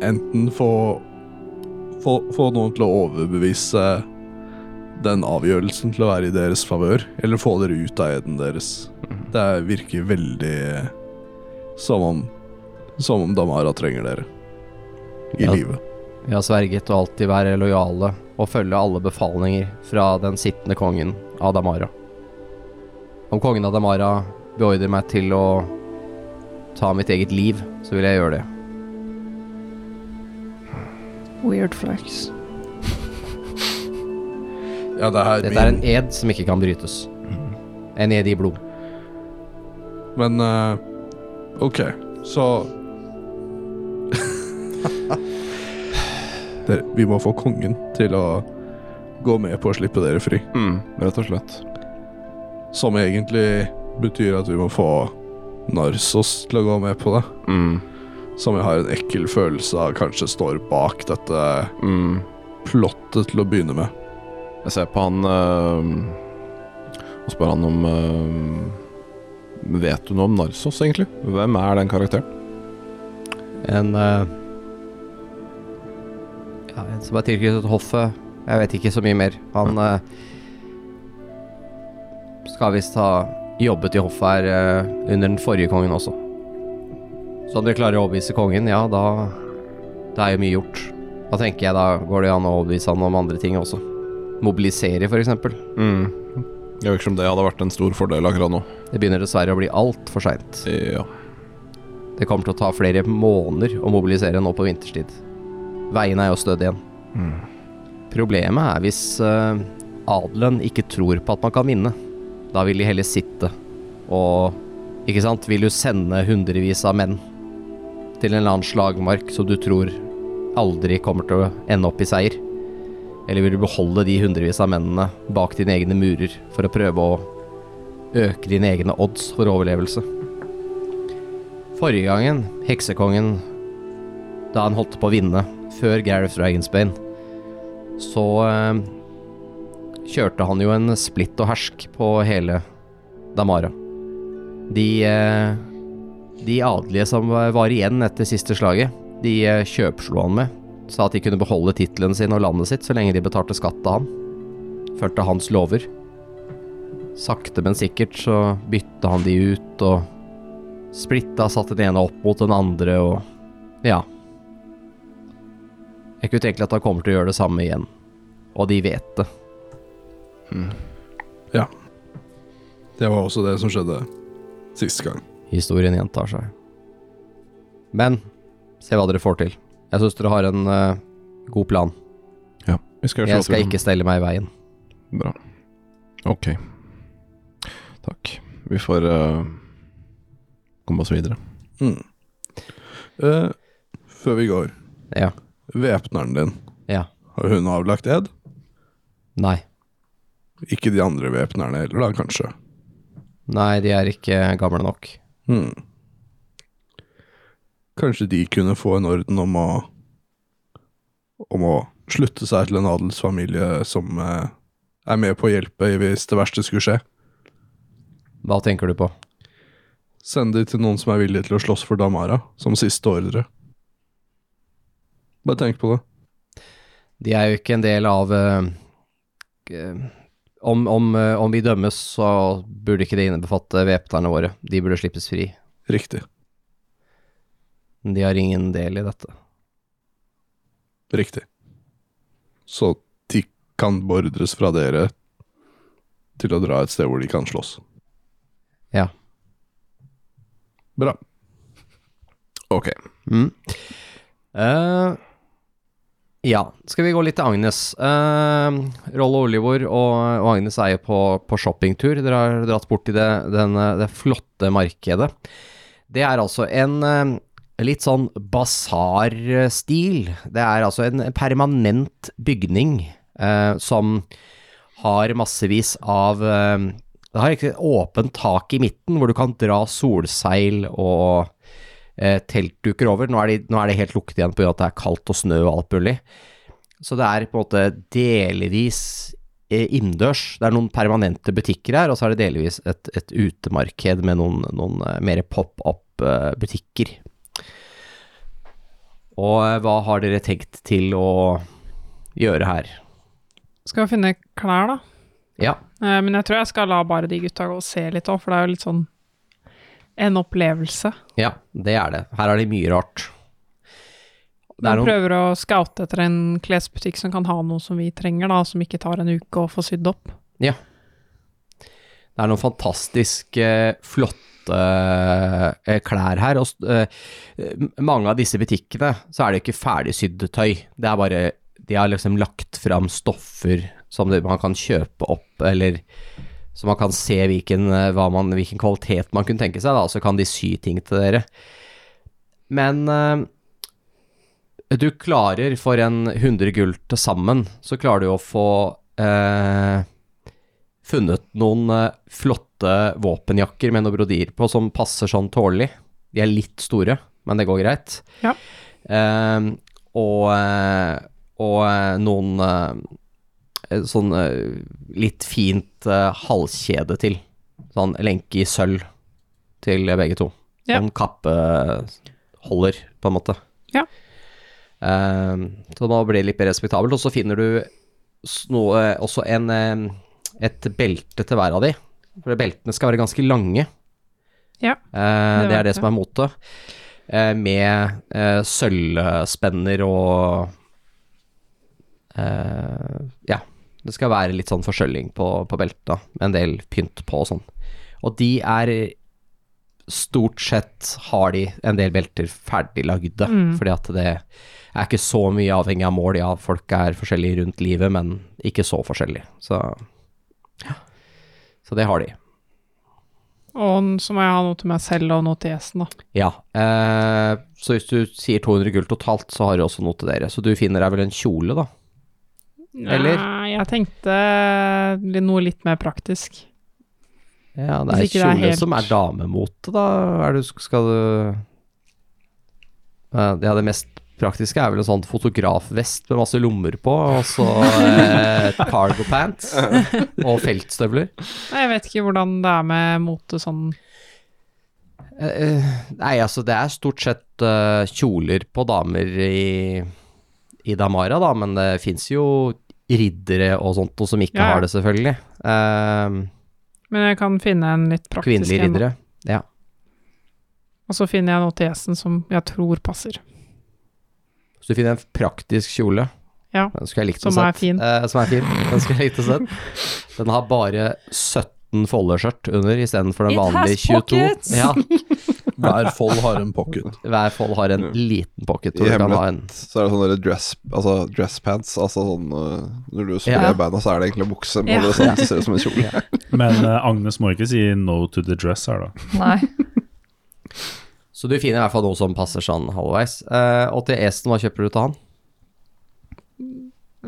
Speaker 2: enten få få, få noen til å overbevise den avgjørelsen til å være i deres favør, eller få dere ut av eden deres.
Speaker 3: Mhm.
Speaker 2: Det virker veldig som om som om Damara trenger dere i
Speaker 3: Ja.
Speaker 2: livet.
Speaker 3: Vi har sverget å alltid være lojale og følge alle befalinger fra den sittende kongen Adamara. Om kongen Adamara beordrer meg til å ta mitt eget liv, så vil jeg gjøre det.
Speaker 8: Weird flex.
Speaker 2: Ja, det er
Speaker 3: Dette er en ed som ikke kan brytes. En ed i blod. e-
Speaker 2: Men eh, OK, så dere, Vi må få kongen til å gå med på å slippe dere fri.
Speaker 4: Mm, rett og slett.
Speaker 2: Som egentlig betyr at vi må få Narsos til å gå med på det.
Speaker 4: Mm,
Speaker 2: Som jeg har en ekkel følelse av kanskje står bak dette
Speaker 4: mm.
Speaker 2: plottet til å begynne med.
Speaker 4: Jeg ser på han eh, og spør han om eh, Vet du noe om Narsos, egentlig? Hvem er den karakteren?
Speaker 3: En eh, Ja, en som er tilknyttet hoffet. Jeg vet ikke så mye mer. Han eh, skal visst ha jobbet i hoffet her eh, under den forrige kongen også. Så om dere klarer å overbevise kongen, ja, da Da er jo mye gjort. Da tenker jeg da går det an å overbevise han om andre ting også. Mobilisere, for eksempel.
Speaker 4: Mm. Jeg vet ikke om det hadde vært en stor fordel akkurat nå.
Speaker 3: Det begynner dessverre å bli altfor seint.
Speaker 4: Ja.
Speaker 3: Det kommer til å ta flere måneder å mobilisere nå på vinterstid. Veiene er jo stødige igjen. Problemet er hvis eh, adelen ikke tror på at man kan vinne. Da vil de heller sitte og Ikke sant? Vil du sende hundrevis av menn til en eller annen slagmark som du tror aldri kommer til å ende opp i seier? Eller vil du beholde de hundrevis av mennene bak dine egne murer for å prøve å øke dine egne odds for overlevelse? Forrige gangen, heksekongen, da han holdt på å vinne, før Gareth Dragonsbane, så eh, kjørte han jo en splitt og hersk på hele Damara. De, eh, de adelige som var igjen etter siste slaget, de eh, kjøpslo han med. Sa at de kunne beholde tittelen sin og landet sitt så lenge de betalte skatt av han. Førte hans lover. Sakte, men sikkert så bytta han de ut og splitta, satt den ene opp mot den andre og Ja. Jeg kunne tenke meg at han kommer til å gjøre det samme igjen. Og de vet det.
Speaker 2: Det var også det som skjedde sist gang.
Speaker 3: Historien gjentar seg. Men se hva dere får til. Jeg syns dere har en eh, god plan.
Speaker 4: Ja, vi skal
Speaker 3: Jeg skal ikke stelle meg i veien.
Speaker 4: Bra. Ok. Takk. Vi får eh, komme oss videre.
Speaker 2: Mm. Eh, før vi går,
Speaker 3: Ja.
Speaker 2: væpneren din,
Speaker 3: Ja.
Speaker 2: har hun avlagt ed?
Speaker 3: Nei.
Speaker 2: Ikke de andre væpnerne heller, da, kanskje?
Speaker 3: Nei, de er ikke gamle nok.
Speaker 2: Hmm. Kanskje de kunne få en orden om å Om å slutte seg til en adelsfamilie som eh, er med på å hjelpe hvis det verste skulle skje.
Speaker 3: Hva tenker du på?
Speaker 2: Send de til noen som er villige til å slåss for Damara, som siste ordre. Bare tenk på det.
Speaker 3: De er jo ikke en del av eh, eh, om, om, eh, om vi dømmes, så burde ikke det innebefatte væpnerne våre. De burde slippes fri.
Speaker 2: Riktig.
Speaker 3: De har ingen del i dette.
Speaker 2: Riktig. Så de kan beordres fra dere til å dra et sted hvor de kan slåss.
Speaker 3: Ja.
Speaker 2: Bra.
Speaker 4: Ok.
Speaker 3: Mm. Eh, ja, skal vi gå litt til Agnes. Eh, Rollo Olivor og, og Agnes er jo på, på shoppingtur. Dere har dratt bort til det, den, eh, det flotte markedet. Det er altså en eh, litt sånn basarstil. Det er altså en permanent bygning eh, som har massevis av eh, Det har egentlig et åpent tak i midten hvor du kan dra solseil og eh, teltduker over. Nå er, de, nå er det helt lukket igjen på grunn av at det er kaldt og snø og alt mulig. Så det er på en måte delvis eh, innendørs. Det er noen permanente butikker her, og så er det delvis et, et utemarked med noen, noen eh, mer eh, pop up-butikker. Og eh, hva har dere tenkt til å gjøre her?
Speaker 5: Skal vi finne klær, da?
Speaker 3: Ja,
Speaker 5: Eh, Men jeg tror jeg skal la bare de gutta gå og se litt òg, for det er jo litt sånn en opplevelse.
Speaker 3: ja, det er det. Her er det mye rart. Det er
Speaker 5: Man
Speaker 3: noen-
Speaker 5: prøver å scoute etter en klesbutikk som kan ha noe som vi trenger, da, som ikke tar en uke å få sydd opp.
Speaker 3: Det er noen fantastisk eh, flotte eh, klær her. Og, s- eh, m- mange av disse butikkene så er det ikke ferdigsydd tøy. Det er bare De har liksom lagt fram stoffer som det, man kan kjøpe opp, eller så man kan se hvilken, eh, hva man, hvilken kvalitet man kunne tenke seg, da, så kan de sy ting til dere. Men eh, du klarer for en 100 gull til sammen, så klarer du å få eh, funnet noen eh, flotte våpenjakker med noen brodier på som passer sånn tålelig. De er litt store, men det går greit.
Speaker 5: Ja.
Speaker 3: Ehm, og, eh, og eh, noen eh, sånn eh, litt fint eh, halskjede til. Sånn lenke i sølv til begge to.
Speaker 5: Ja.
Speaker 3: Sånn kappeholder, på en måte.
Speaker 5: Ja.
Speaker 3: Ehm, så da blir det litt mer respektabelt. Og så finner du s- noe, eh, også en eh, et belte til hver av de. For beltene skal være ganske lange.
Speaker 5: Ja,
Speaker 3: Eh, det
Speaker 5: vet
Speaker 3: er det
Speaker 5: jeg.
Speaker 3: som er motet. Eh, med eh, sølvspenner og eh, Ja. Det skal være litt sånn forskjølling på, på beltene. Med en del pynt på og sånn. Og de er Stort sett har de en del belter ferdiglagde,
Speaker 5: Mm.
Speaker 3: fordi at det er ikke så mye avhengig av mål. Ja, folk er forskjellige rundt livet, men ikke så forskjellige. Så så det har de.
Speaker 5: Og n- så må jeg ha noe til meg selv og noe til gjesten, da.
Speaker 3: Ja. Eh, så hvis du sier 200 gull totalt, så har de også noe til dere. Så du finner deg vel en kjole, da? Eller?
Speaker 5: Nei, jeg tenkte li- noe litt mer praktisk.
Speaker 3: Ja, det
Speaker 5: Hvis
Speaker 3: er
Speaker 5: ikke det er
Speaker 3: kjole
Speaker 5: helt-
Speaker 3: som er damemote, da. Er du, skal du Eh, Ja, det mest praktiske er vel en sånn fotografvest med masse lommer på, og så eh, cargo pants og feltstøvler.
Speaker 5: Nei, Jeg vet ikke hvordan det er med mote sånn
Speaker 3: Eh, eh, nei, altså det er stort sett eh, kjoler på damer i, i Damara, da, men det fins jo riddere og sånt noe som ikke
Speaker 5: Ja, ja.
Speaker 3: har det, selvfølgelig. Eh,
Speaker 5: Men jeg kan finne en litt praktisk
Speaker 3: kvinnelige
Speaker 5: en, da.
Speaker 3: riddere. Ja.
Speaker 5: Og så finner jeg noe til gjesten som jeg tror passer.
Speaker 3: Så du finner en praktisk kjole.
Speaker 5: Ja.
Speaker 3: Den skulle jeg likt å
Speaker 5: Som er
Speaker 3: sett.
Speaker 5: fin.
Speaker 3: Eh, som er fin. Den skulle jeg likt å sett. Den har bare 17 foldeskjørt under istedenfor
Speaker 7: It
Speaker 3: den
Speaker 7: has
Speaker 3: vanlige 22.
Speaker 7: pockets!
Speaker 3: Ja,
Speaker 2: Hver fold har en pocket.
Speaker 3: hver fold har
Speaker 5: Mm.
Speaker 3: en liten pocket. Hvor
Speaker 4: I
Speaker 3: du kan ha en
Speaker 4: hemmelighet så er det sånne der dress, altså dresspants. Altså sånn eh, Når du spiller
Speaker 3: Ja.
Speaker 4: i bandet, så er det egentlig en bukse.
Speaker 5: Ja.
Speaker 4: Men det, sånn, det ser ut som en kjole.
Speaker 6: Men eh, Agnes må ikke si no to the dress her, da.
Speaker 8: Nei.
Speaker 3: Så du finner i hvert fall noe som passer sånn halvveis. Eh, og til Esten, hva kjøper du til han?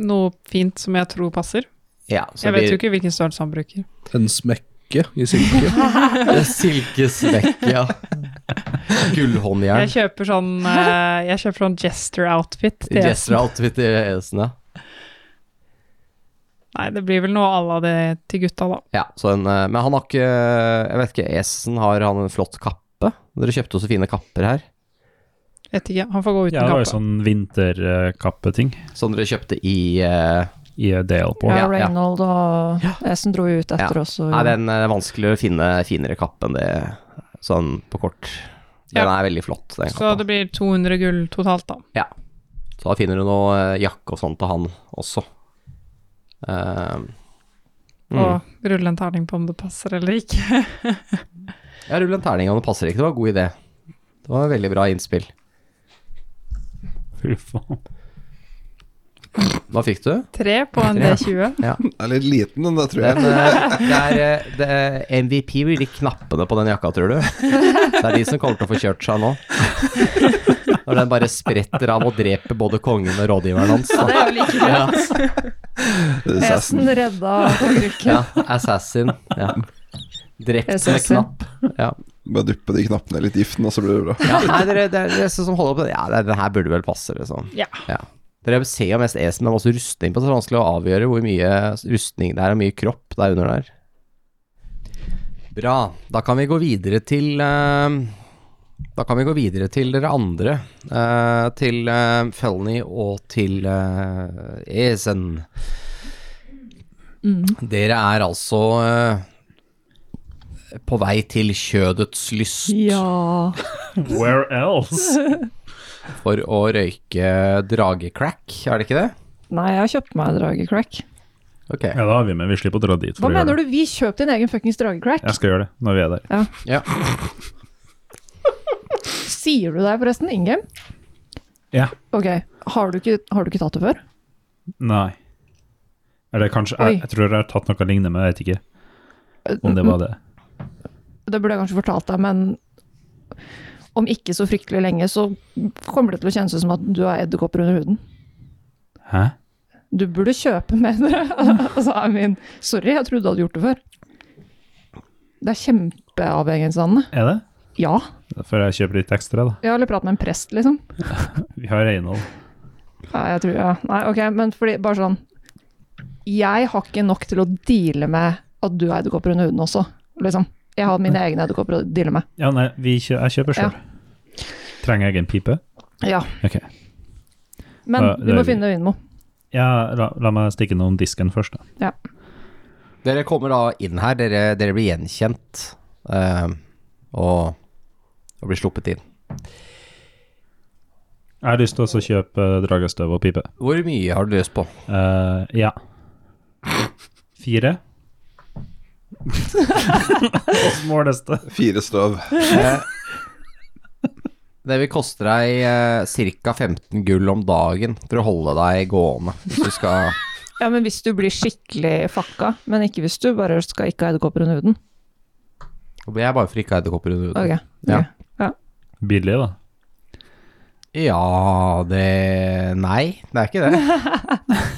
Speaker 5: Noe fint som jeg tror passer.
Speaker 3: Ja, så
Speaker 5: Jeg vet
Speaker 3: blir-
Speaker 5: jo ikke hvilken størrelse han bruker.
Speaker 2: En smekke i silke.
Speaker 3: Silkesmekk, ja.
Speaker 5: Jeg
Speaker 3: Gullhåndjern.
Speaker 5: kjøper sånn, eh, jeg kjøper sånn jester-outfit. til gjesten.
Speaker 3: Jester-outfit til Esen, ja.
Speaker 5: Nei, det blir vel noe à la det til gutta, da.
Speaker 3: ja så en, eh, men han har ikke Jeg vet ikke, Esen har han en flott kappe? Dere kjøpte jo så fine kapper her,
Speaker 5: Vet ikke, han får gå uten
Speaker 6: Ja, det var jo
Speaker 5: kappe.
Speaker 6: sånn vinterkappeting
Speaker 3: som dere kjøpte i eh,
Speaker 6: i eh, Dale på.
Speaker 3: Ja,
Speaker 8: Ja,
Speaker 3: ja.
Speaker 8: Reynold og Esen dro jo ut etter oss. Og,
Speaker 3: Nei, den er vanskelig å finne finere kappe enn det sånn på kort. Den
Speaker 5: Ja.
Speaker 3: er veldig flott,
Speaker 6: sånn.
Speaker 3: den
Speaker 5: Så
Speaker 3: kappa.
Speaker 5: det blir 200 gull totalt, da.
Speaker 3: Så da finner du noe eh, jakke og sånn til han også. Eh, mm.
Speaker 5: Og rulle en terning på om det passer eller ikke.
Speaker 3: Ja, rull en terning om det passer ikke. Det var en god idé. Det var en veldig bra innspill.
Speaker 6: Fy faen.
Speaker 3: Hva fikk du?
Speaker 5: Tre på en
Speaker 3: Ja.
Speaker 5: D20.
Speaker 4: Den er litt liten, den der, tror jeg.
Speaker 3: Den, eh, det er, eh, det er MVP blir de knappene på den jakka, tror du. Det er de som kommer til å få kjørt seg nå. Når den bare spretter av og dreper både kongen og rådgiveren hans. da.
Speaker 8: det er jo like
Speaker 3: Ja,
Speaker 8: Esen redda
Speaker 3: ja, assassin. Ja. Drept med
Speaker 8: Assassin.
Speaker 3: knapp. Ja.
Speaker 4: Bare duppe de knappene litt i giften, og så blir det bra.
Speaker 3: Ja, nei, dere, det er dere som holder opp Ja, det, det her burde vel passe, liksom.
Speaker 5: Ja.
Speaker 3: Dere ser jo mest esen, men også rustning på det, så det er vanskelig å avgjøre hvor mye rustning det er, og mye kropp det er under der. Bra. Da kan vi gå videre til eh, Da kan vi gå videre til dere andre. eh, til uh, Felny og til eh, Esen. Dere er altså eh, på vei til kjødets lyst.
Speaker 8: Ja.
Speaker 6: Where else?
Speaker 3: For å røyke dragecrack, er det ikke det?
Speaker 8: Nei, jeg har kjøpt meg dragecrack.
Speaker 3: Ok.
Speaker 6: Ja, da har vi med. Vi slipper å dra dit.
Speaker 8: Hva
Speaker 6: å gjøre
Speaker 8: mener
Speaker 6: det.
Speaker 8: du? Vi kjøper din egen fuckings dragecrack.
Speaker 6: Jeg skal gjøre det når vi er der.
Speaker 8: Sier du deg forresten, Ingem?
Speaker 6: Ja.
Speaker 8: Ok, har du, ikke, har du ikke tatt det før?
Speaker 6: Nei. Eller kanskje
Speaker 8: Oi.
Speaker 6: jeg, jeg tror jeg har tatt noe lignende, men jeg vet ikke om det var det.
Speaker 8: Det burde jeg kanskje fortalt deg, men om ikke så fryktelig lenge, så kommer det til å kjennes ut som at du har edderkopper under huden.
Speaker 6: Hæ?
Speaker 8: Du burde kjøpe med dere. altså, I mean, sorry, jeg trodde du hadde gjort det før. Det er kjempeavhengighetsdannende.
Speaker 6: Er det?
Speaker 8: Ja.
Speaker 6: Derfor jeg kjøper litt ekstra, da.
Speaker 8: Jeg har aldri pratet med en prest, liksom.
Speaker 6: Vi har renhold.
Speaker 8: Ja, jeg tror, ja. Nei, ok, men fordi, bare sånn Jeg har ikke nok til å deale med at du har edderkopper under huden også, liksom. Jeg har mine egne edderkopper å deale med.
Speaker 6: Ja, nei, vi kjø jeg kjøper sjøl. Trenger jeg en pipe?
Speaker 8: Ja.
Speaker 6: Ok.
Speaker 8: Men
Speaker 6: Ja,
Speaker 8: vi
Speaker 6: det
Speaker 8: må
Speaker 6: er-
Speaker 8: finne Vinmo.
Speaker 6: Ja, la, la meg stikke noen disken først, da.
Speaker 3: Dere kommer da inn her, dere, dere blir gjenkjent eh, og, og blir sluppet inn.
Speaker 6: Jeg har lyst til også å kjøpe eh, dragestøv og pipe.
Speaker 3: Hvor mye har du lyst på?
Speaker 6: Eh, ja. Fire. Og så måles det.
Speaker 4: Fire støv.
Speaker 3: Eh, det vil koste deg eh, ca. 15 gull om dagen for å holde deg gående. Hvis du skal
Speaker 8: Ja, men hvis du blir skikkelig fakka, men ikke hvis du bare skal ikke ha edderkopper under huden.
Speaker 3: Jeg er bare for ikke å ha edderkopper under huden.
Speaker 8: Ok.
Speaker 3: Ja.
Speaker 6: Billig, da.
Speaker 3: Ja, det Nei, det er ikke det.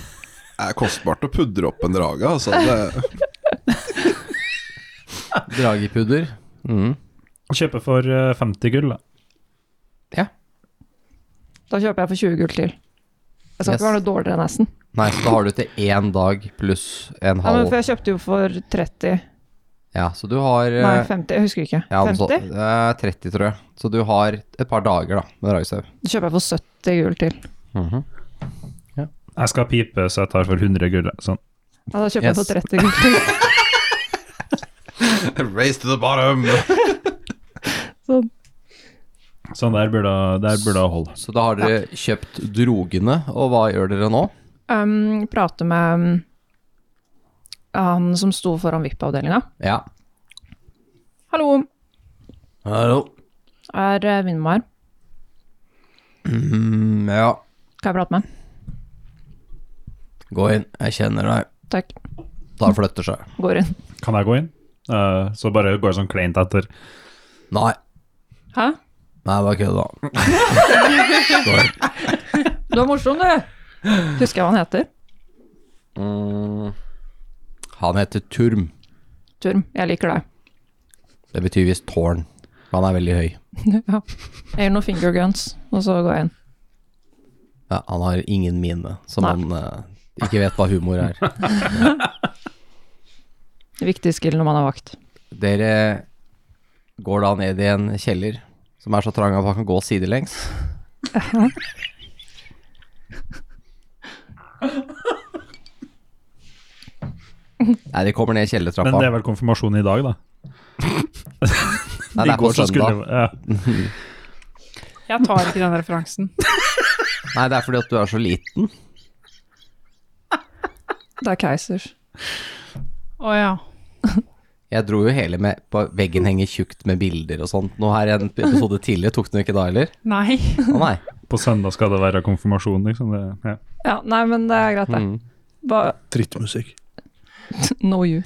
Speaker 4: Det er kostbart å pudre opp en drage, altså. Det,
Speaker 3: Dragepudder. Mm.
Speaker 6: Kjøpe for eh, 50 gull, da.
Speaker 8: Da kjøper jeg for 20 gull til. Jeg skal
Speaker 3: Yes.
Speaker 8: ikke være noe dårligere enn Essen.
Speaker 3: Nei, så da har du til én dag pluss en
Speaker 8: Ja, men
Speaker 3: halv.
Speaker 8: for jeg kjøpte jo for 30,
Speaker 3: Ja, så du har eh,
Speaker 8: nei 50, jeg husker ikke.
Speaker 3: ja, noe sånt.
Speaker 8: 50?
Speaker 3: Eh, 30, tror jeg. Så du har et par dager da, med dragestøv.
Speaker 8: Da kjøper jeg for 70 gull til.
Speaker 6: Jeg skal pipe, så jeg tar for 100 gull. da. Sånn.
Speaker 8: Ja, da kjøper jeg for
Speaker 3: Yes.
Speaker 8: 30 gull til.
Speaker 4: race to the bottom!
Speaker 8: Sånn.
Speaker 6: Så der burde der burde det holde.
Speaker 3: Så da har dere kjøpt drogene, og hva gjør dere nå?
Speaker 8: Um, prate med um, han som sto foran VIP-avdelinga.
Speaker 3: Ja.
Speaker 8: Hallo,
Speaker 3: Hallo.
Speaker 8: er eh, Vindmar.
Speaker 3: Mm, ja,
Speaker 8: Kan jeg prate med?
Speaker 3: gå inn. Jeg kjenner deg.
Speaker 8: Takk.
Speaker 3: Da flytter seg.
Speaker 8: Går inn.
Speaker 6: Kan jeg gå inn? Eh, så bare går jeg sånn kleint etter.
Speaker 3: Nei.
Speaker 8: Hæ?
Speaker 3: Nei, bare kødda.
Speaker 8: Du er morsom, du! Husker jeg hva han heter?
Speaker 3: Mm. Han heter Turm.
Speaker 8: Turm. Jeg liker deg.
Speaker 3: Det betyr visst tårn. Han er veldig høy.
Speaker 8: ja. Jeg gir noen finger guns, og så går jeg inn.
Speaker 3: Ja, han har ingen mine, som
Speaker 8: Nei.
Speaker 3: han eh, ikke vet hva humor er.
Speaker 8: Viktig skill når man er vakt.
Speaker 3: Dere går da ned i en kjeller som er så trang at han kan gå sidelengs. Nei, de kommer ned kjellertrappa.
Speaker 6: Men det er vel konfirmasjon i dag, da?
Speaker 3: Nei, det
Speaker 6: I
Speaker 3: er på
Speaker 6: går så
Speaker 3: søndag.
Speaker 6: skulle ja.
Speaker 5: Jeg tar ikke den referansen.
Speaker 3: Nei, det er fordi at du er så liten.
Speaker 8: Det er keisers.
Speaker 5: Å ja.
Speaker 3: Jeg dro jo hele med På veggen henger tjukt med bilder og sånt. Nå her i en episode tidligere tok den jo ikke da heller.
Speaker 5: Nei.
Speaker 3: Å nei.
Speaker 6: På søndag skal det være konfirmasjon, liksom. Det, ja.
Speaker 8: Ja, nei, men det er greit, det.
Speaker 3: Mm.
Speaker 8: Ba-
Speaker 2: Drittmusikk.
Speaker 8: no you.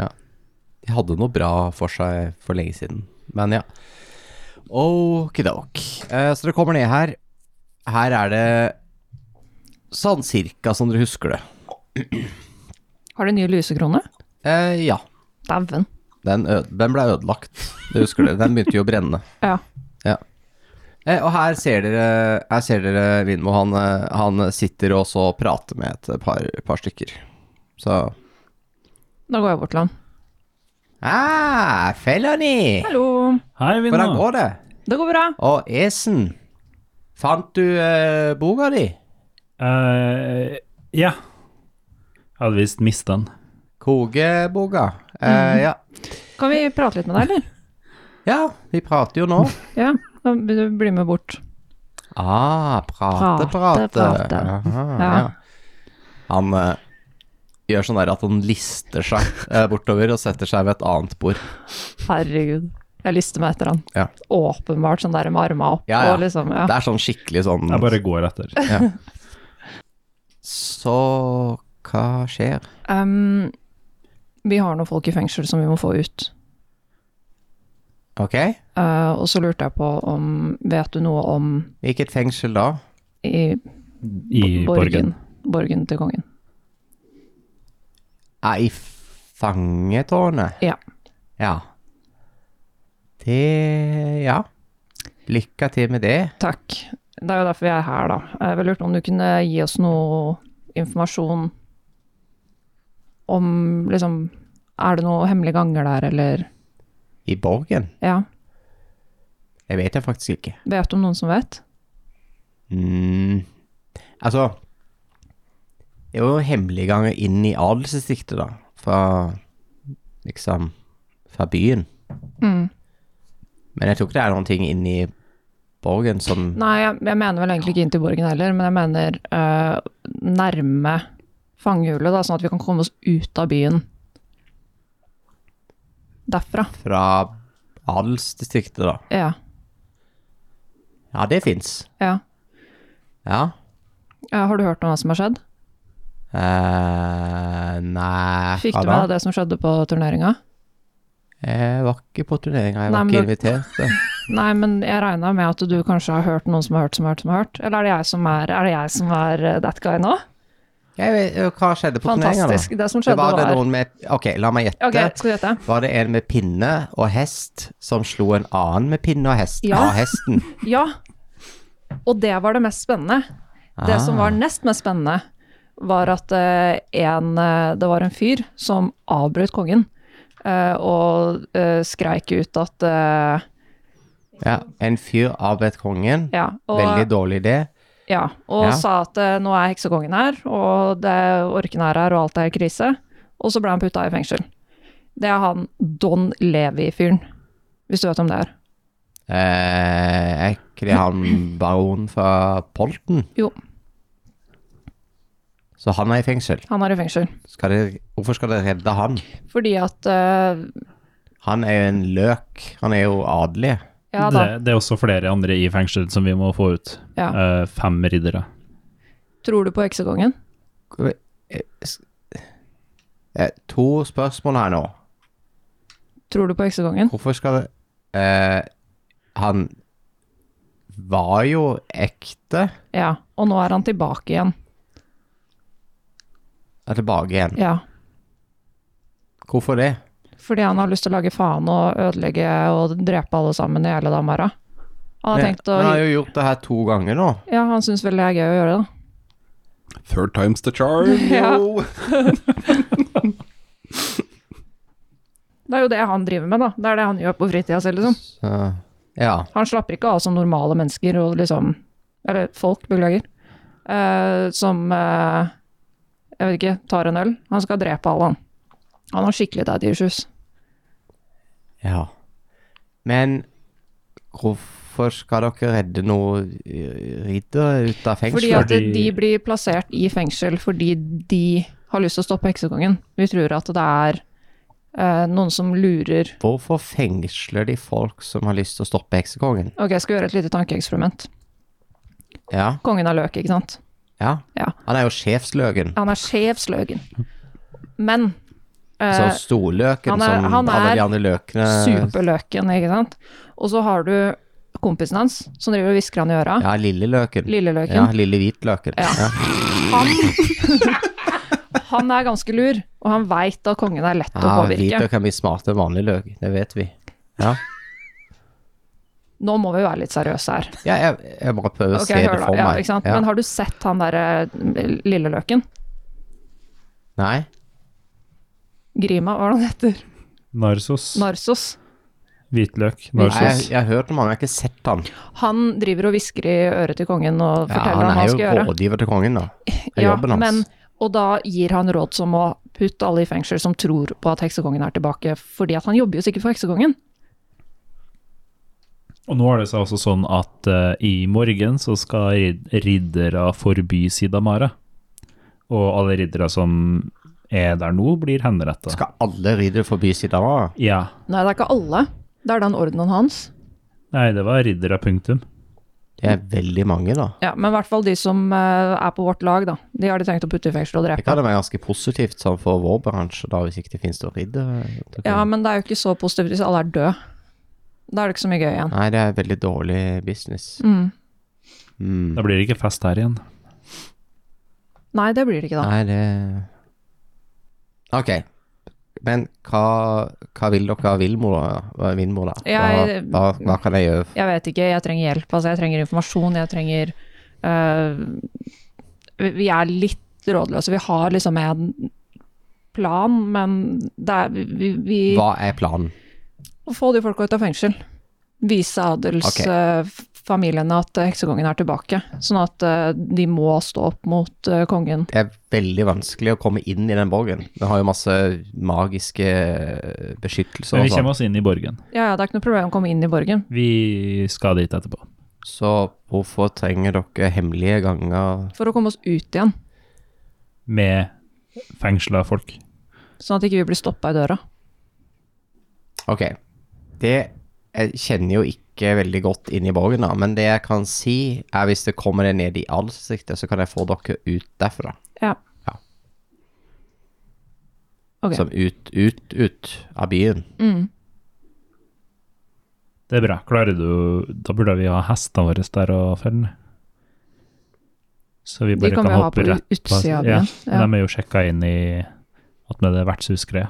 Speaker 3: De hadde noe bra for seg for lenge siden, men ja. Okidok. Eh, Så dere kommer ned her. Her er det sånn cirka som dere husker det.
Speaker 8: Har de nye lysekroner?
Speaker 3: Eh, ja,
Speaker 8: Dæven.
Speaker 3: den, øde, den ble ødelagt. Det husker dere. Den begynte jo å brenne.
Speaker 8: Ja.
Speaker 3: Ja. Eh, og her ser dere, her ser dere Vindmo. Han, eh, han sitter og så prater med et par, par stykker. Så
Speaker 8: Da går jeg bort til han.
Speaker 3: Ah, Felony!
Speaker 8: Hallo.
Speaker 6: Hei, Vinna.
Speaker 3: Hvordan går det?
Speaker 8: Det går bra.
Speaker 3: Og Esen, fant du eh, boka di?
Speaker 6: Eh, ja. Jeg hadde visst mistet den.
Speaker 3: Kokeboka. Eh, ja.
Speaker 8: Kan vi prate litt med deg, eller?
Speaker 3: ja, vi prater jo nå.
Speaker 8: Ja. Da blir du bli med bort.
Speaker 3: Ah, prate, prate.
Speaker 8: Prate, prate.
Speaker 3: Aha,
Speaker 8: Ja.
Speaker 3: ja. Han eh, gjør sånn der at han lister seg eh, bortover og setter seg ved et annet bord.
Speaker 8: Herregud. Jeg lister meg etter han.
Speaker 3: Ja.
Speaker 8: Åpenbart sånn der med arma opp
Speaker 3: Ja, ja.
Speaker 8: og liksom ja.
Speaker 3: Det er sånn skikkelig sånn
Speaker 6: Jeg bare går etter.
Speaker 3: Så hva skjer?
Speaker 8: Ehm, vi har noen folk i fengsel som vi må få ut.
Speaker 3: Ok,
Speaker 8: Eh, og så lurte jeg på om Vet du noe om
Speaker 3: hvilket fengsel da?
Speaker 8: i,
Speaker 6: I Borgen.
Speaker 8: borgen? Borgen til kongen.
Speaker 3: Nei, fangetårnet.
Speaker 8: Ja.
Speaker 3: Ja. Det Ja. Lykke til med det.
Speaker 8: Takk. Det er jo derfor vi er her, da. Jeg ville lurt om du kunne gi oss noe informasjon om liksom Er det noen hemmelige ganger der, eller
Speaker 3: I Borgen?
Speaker 8: Ja.
Speaker 3: Det vet jeg faktisk ikke.
Speaker 8: Vet du om noen som vet?
Speaker 3: Mm. Altså Det er jo hemmelige ganger inn i adelsdistriktet, da. Fra liksom Fra byen.
Speaker 8: Mm.
Speaker 3: Men jeg tror ikke det er noen ting inn i Borgen som
Speaker 8: Nei, jeg, jeg mener vel egentlig ikke inn til Borgen heller, men jeg mener eh, nærme fangehjulet, da, sånn at vi kan komme oss ut av byen derfra.
Speaker 3: fra adelsdistriktet, da.
Speaker 8: Ja.
Speaker 3: Ja, det fins.
Speaker 8: ja.
Speaker 3: Ja.
Speaker 8: Ja, Har du hørt om hva som har skjedd?
Speaker 3: eh nei
Speaker 8: Fikk
Speaker 3: hva
Speaker 8: du
Speaker 3: da?
Speaker 8: med deg det som skjedde på turneringa?
Speaker 3: Jeg var ikke på turneringa, jeg
Speaker 8: Nei,
Speaker 3: var
Speaker 8: men
Speaker 3: ikke
Speaker 8: du-
Speaker 3: invitert.
Speaker 8: Nei, men jeg regna med at du kanskje har hørt noen som har hørt som har hørt som har hørt. Eller er det jeg som er, er, det jeg som er eh, that guy nå?
Speaker 3: Jeg vet, hva skjedde på turneringa, da?
Speaker 8: Fantastisk. Det som
Speaker 3: Det
Speaker 8: skjedde,
Speaker 3: var
Speaker 8: var,
Speaker 3: det noen med Ok, la meg gjette.
Speaker 8: Ok, skal du gjette?
Speaker 3: Var det en med pinne og hest som slo en annen med pinne og hest?
Speaker 8: Ja.
Speaker 3: Av hesten.
Speaker 8: Ja. Og det var det mest spennende. Det som
Speaker 3: Ah.
Speaker 8: var nest mest spennende, var at eh, en, eh, det var en fyr som avbrøt kongen. eh, og eh, skreik ut at eh,
Speaker 3: Ja, en fyr avbrøt kongen.
Speaker 8: Ja. Og,
Speaker 3: Veldig dårlig idé.
Speaker 8: Ja, og
Speaker 3: Ja.
Speaker 8: sa at eh, nå er heksekongen her, og det orken er her, og alt er i krise. Og så ble han putta i fengsel. Det er han Don Levi-fyren. hvis du vet om det er.
Speaker 3: Eh, er ikke det han baron fra Polten?
Speaker 8: Jo.
Speaker 3: Så han er i fengsel.
Speaker 8: Han er i fengsel.
Speaker 3: Skal dere, hvorfor skal dere redde han?
Speaker 8: Fordi at eh,
Speaker 3: Han er jo en løk. Han er jo adelig.
Speaker 8: Ja
Speaker 6: det,
Speaker 8: da,
Speaker 6: det er også flere andre i fengsel som vi må få ut.
Speaker 8: Ja.
Speaker 6: Eh, fem riddere.
Speaker 8: tror du på heksekongen?
Speaker 3: Eh, s- eh, To spørsmål her nå.
Speaker 8: Tror du på heksekongen?
Speaker 3: Hvorfor skal det eh, Han var jo ekte.
Speaker 8: Ja. Og nå er han tilbake igjen.
Speaker 3: Er tilbake igjen.
Speaker 8: Ja.
Speaker 3: Hvorfor det?
Speaker 8: Fordi han har lyst til å lage faen og ødelegge og drepe alle sammen i hele Damara. Han har tenkt å
Speaker 3: Han har jo gjort det her to ganger nå.
Speaker 8: Ja, han syns vel det er gøy å gjøre det, da.
Speaker 4: Third time's the charm, yo!
Speaker 8: Det er jo det han driver med, da. Det er det han gjør på fritida si, liksom.
Speaker 3: Så, ja.
Speaker 8: Han slapper ikke av som normale mennesker og liksom Eller folk, beklager. eh, som eh, Jeg vet ikke, tar en øl. Han skal drepe alle, han. Han har skikkelig daddy issues.
Speaker 3: Ja. Men hvorfor skal dere redde noen ridder ut av fengsel?
Speaker 8: Fordi at
Speaker 6: Fordi-
Speaker 8: de blir plassert i fengsel fordi de har lyst til å stoppe heksekongen. Vi tror at det er eh, noen som lurer
Speaker 3: Hvorfor fengsler de folk som har lyst til å stoppe heksekongen?
Speaker 8: Ok, jeg skal gjøre et lite tankeeksperiment.
Speaker 3: Ja,
Speaker 8: Kongen er løk, ikke sant?
Speaker 3: ja.
Speaker 8: Ja.
Speaker 3: Han er jo sjefsløken.
Speaker 8: Han er sjefsløken. Men
Speaker 3: Så
Speaker 8: eh,
Speaker 3: storløken
Speaker 8: han er-
Speaker 3: som
Speaker 8: han
Speaker 3: alle
Speaker 8: er
Speaker 3: de andre løkene
Speaker 8: superløken, ikke sant? Og så har du kompisen hans som driver og hvisker han i øra.
Speaker 3: Ja, lille løken.
Speaker 8: Lilleløken.
Speaker 3: Ja, lille hvitløken.
Speaker 8: Ja. Han, han er ganske lur, og han veit at kongen er lett å
Speaker 3: Ja,
Speaker 8: påvirke.
Speaker 3: hvitløk kan bli smartere enn vanlig løk, det vet vi. Ja,
Speaker 8: Nå må vi være litt seriøse her.
Speaker 3: ja jeg, jeg bare prøver å
Speaker 8: Ok,
Speaker 3: se
Speaker 8: hør
Speaker 3: det
Speaker 8: da.
Speaker 3: for
Speaker 8: Ja,
Speaker 3: meg.
Speaker 8: ikke sant?
Speaker 3: Ja.
Speaker 8: Men har du sett han derre lilleløken?
Speaker 3: Nei?
Speaker 8: Grima, hva er det han heter?
Speaker 6: Narsos.
Speaker 8: Narsos.
Speaker 6: Hvitløk.
Speaker 3: Nei, jeg,
Speaker 6: Narsos.
Speaker 3: jeg har hørt om han, jeg har ikke sett han.
Speaker 8: Han driver og hvisker i øret til kongen og
Speaker 3: Ja,
Speaker 8: forteller
Speaker 3: han er
Speaker 8: ham hva han
Speaker 3: jo
Speaker 8: skal gjøre.
Speaker 3: rådgiver til kongen, da. Det er
Speaker 8: Ja,
Speaker 3: jobben hans.
Speaker 8: men, og da gir han råd som å putte alle i fengsel som tror på at heksekongen er tilbake, fordi at han jobber jo sikkert for heksekongen.
Speaker 6: Og nå er det seg også sånn at eh, i morgen så skal rid- riddere forby Sidamara. Og alle riddere som er der nå, blir henrettet.
Speaker 3: Skal alle ride forbi Sidamara?
Speaker 6: Ja.
Speaker 8: Nei, det er ikke alle. Det er den ordenen hans.
Speaker 6: Nei, det var riddere, punktum.
Speaker 3: Det er veldig mange, da.
Speaker 8: Ja, men i hvert fall de som eh, er på vårt lag, da. De har de tenkt å putte i fengsel og
Speaker 3: Det
Speaker 8: drepe.
Speaker 3: kan være ganske positivt sånn for vår bransje, da, hvis ikke det finnes noen riddere.
Speaker 8: Ja, men det er jo ikke så positivt hvis alle er døde. Da er det ikke så mye gøy igjen.
Speaker 3: Nei, det er veldig dårlig business.
Speaker 8: Mm.
Speaker 3: Mm.
Speaker 6: Da blir det ikke fest her igjen.
Speaker 8: Nei, det blir det ikke da.
Speaker 3: Nei, det Ok. Men hva, hva vil dere av Vilmor, da? Hva, er Vilmor, da? Hva,
Speaker 8: Jeg-
Speaker 3: hva, hva kan jeg gjøre?
Speaker 8: Jeg vet ikke, jeg trenger hjelp. Altså, jeg trenger informasjon, jeg trenger eh, vi- Vi er litt rådløse. Vi har liksom en plan, men det er Vi, vi
Speaker 3: Hva er planen?
Speaker 8: Å få de folka ut av fengsel. Vise
Speaker 3: Ok.
Speaker 8: adelsfamiliene at eh, heksekongen er tilbake. Sånn at eh, de må stå opp mot eh, kongen.
Speaker 3: Det er veldig vanskelig å komme inn i den borgen. Den har jo masse magiske beskyttelser
Speaker 6: Men
Speaker 3: og
Speaker 8: altså-
Speaker 6: vi
Speaker 3: sånn.
Speaker 6: kommer oss inn i borgen.
Speaker 8: Ja, ja, det er ikke noe problem å komme inn i borgen.
Speaker 6: Vi skal dit etterpå.
Speaker 3: Så hvorfor trenger dere hemmelige ganger?
Speaker 8: For å komme oss ut igjen,
Speaker 6: Med fengsla folk.
Speaker 8: sånn at ikke vi blir stoppa i døra.
Speaker 3: Ok, det jeg kjenner jo ikke veldig godt inn i borgen da, men det jeg kan si er hvis det kommer det ned i ansiktet, så kan jeg få dere ut derfra.
Speaker 8: Ja.
Speaker 3: Ja.
Speaker 8: Ok.
Speaker 3: Som ut, ut, ut av byen.
Speaker 8: Mm.
Speaker 6: Det er bra. Klarer du Da burde vi ha hestene våre der og felle ned. Så vi
Speaker 8: De
Speaker 6: bare
Speaker 8: kan
Speaker 6: kan,
Speaker 8: vi ha
Speaker 6: hoppe
Speaker 8: på
Speaker 6: rett på
Speaker 8: utsida av
Speaker 6: ja,
Speaker 8: byen. Ja.
Speaker 6: De er jo sjekka inn i at med det vertshusgreia.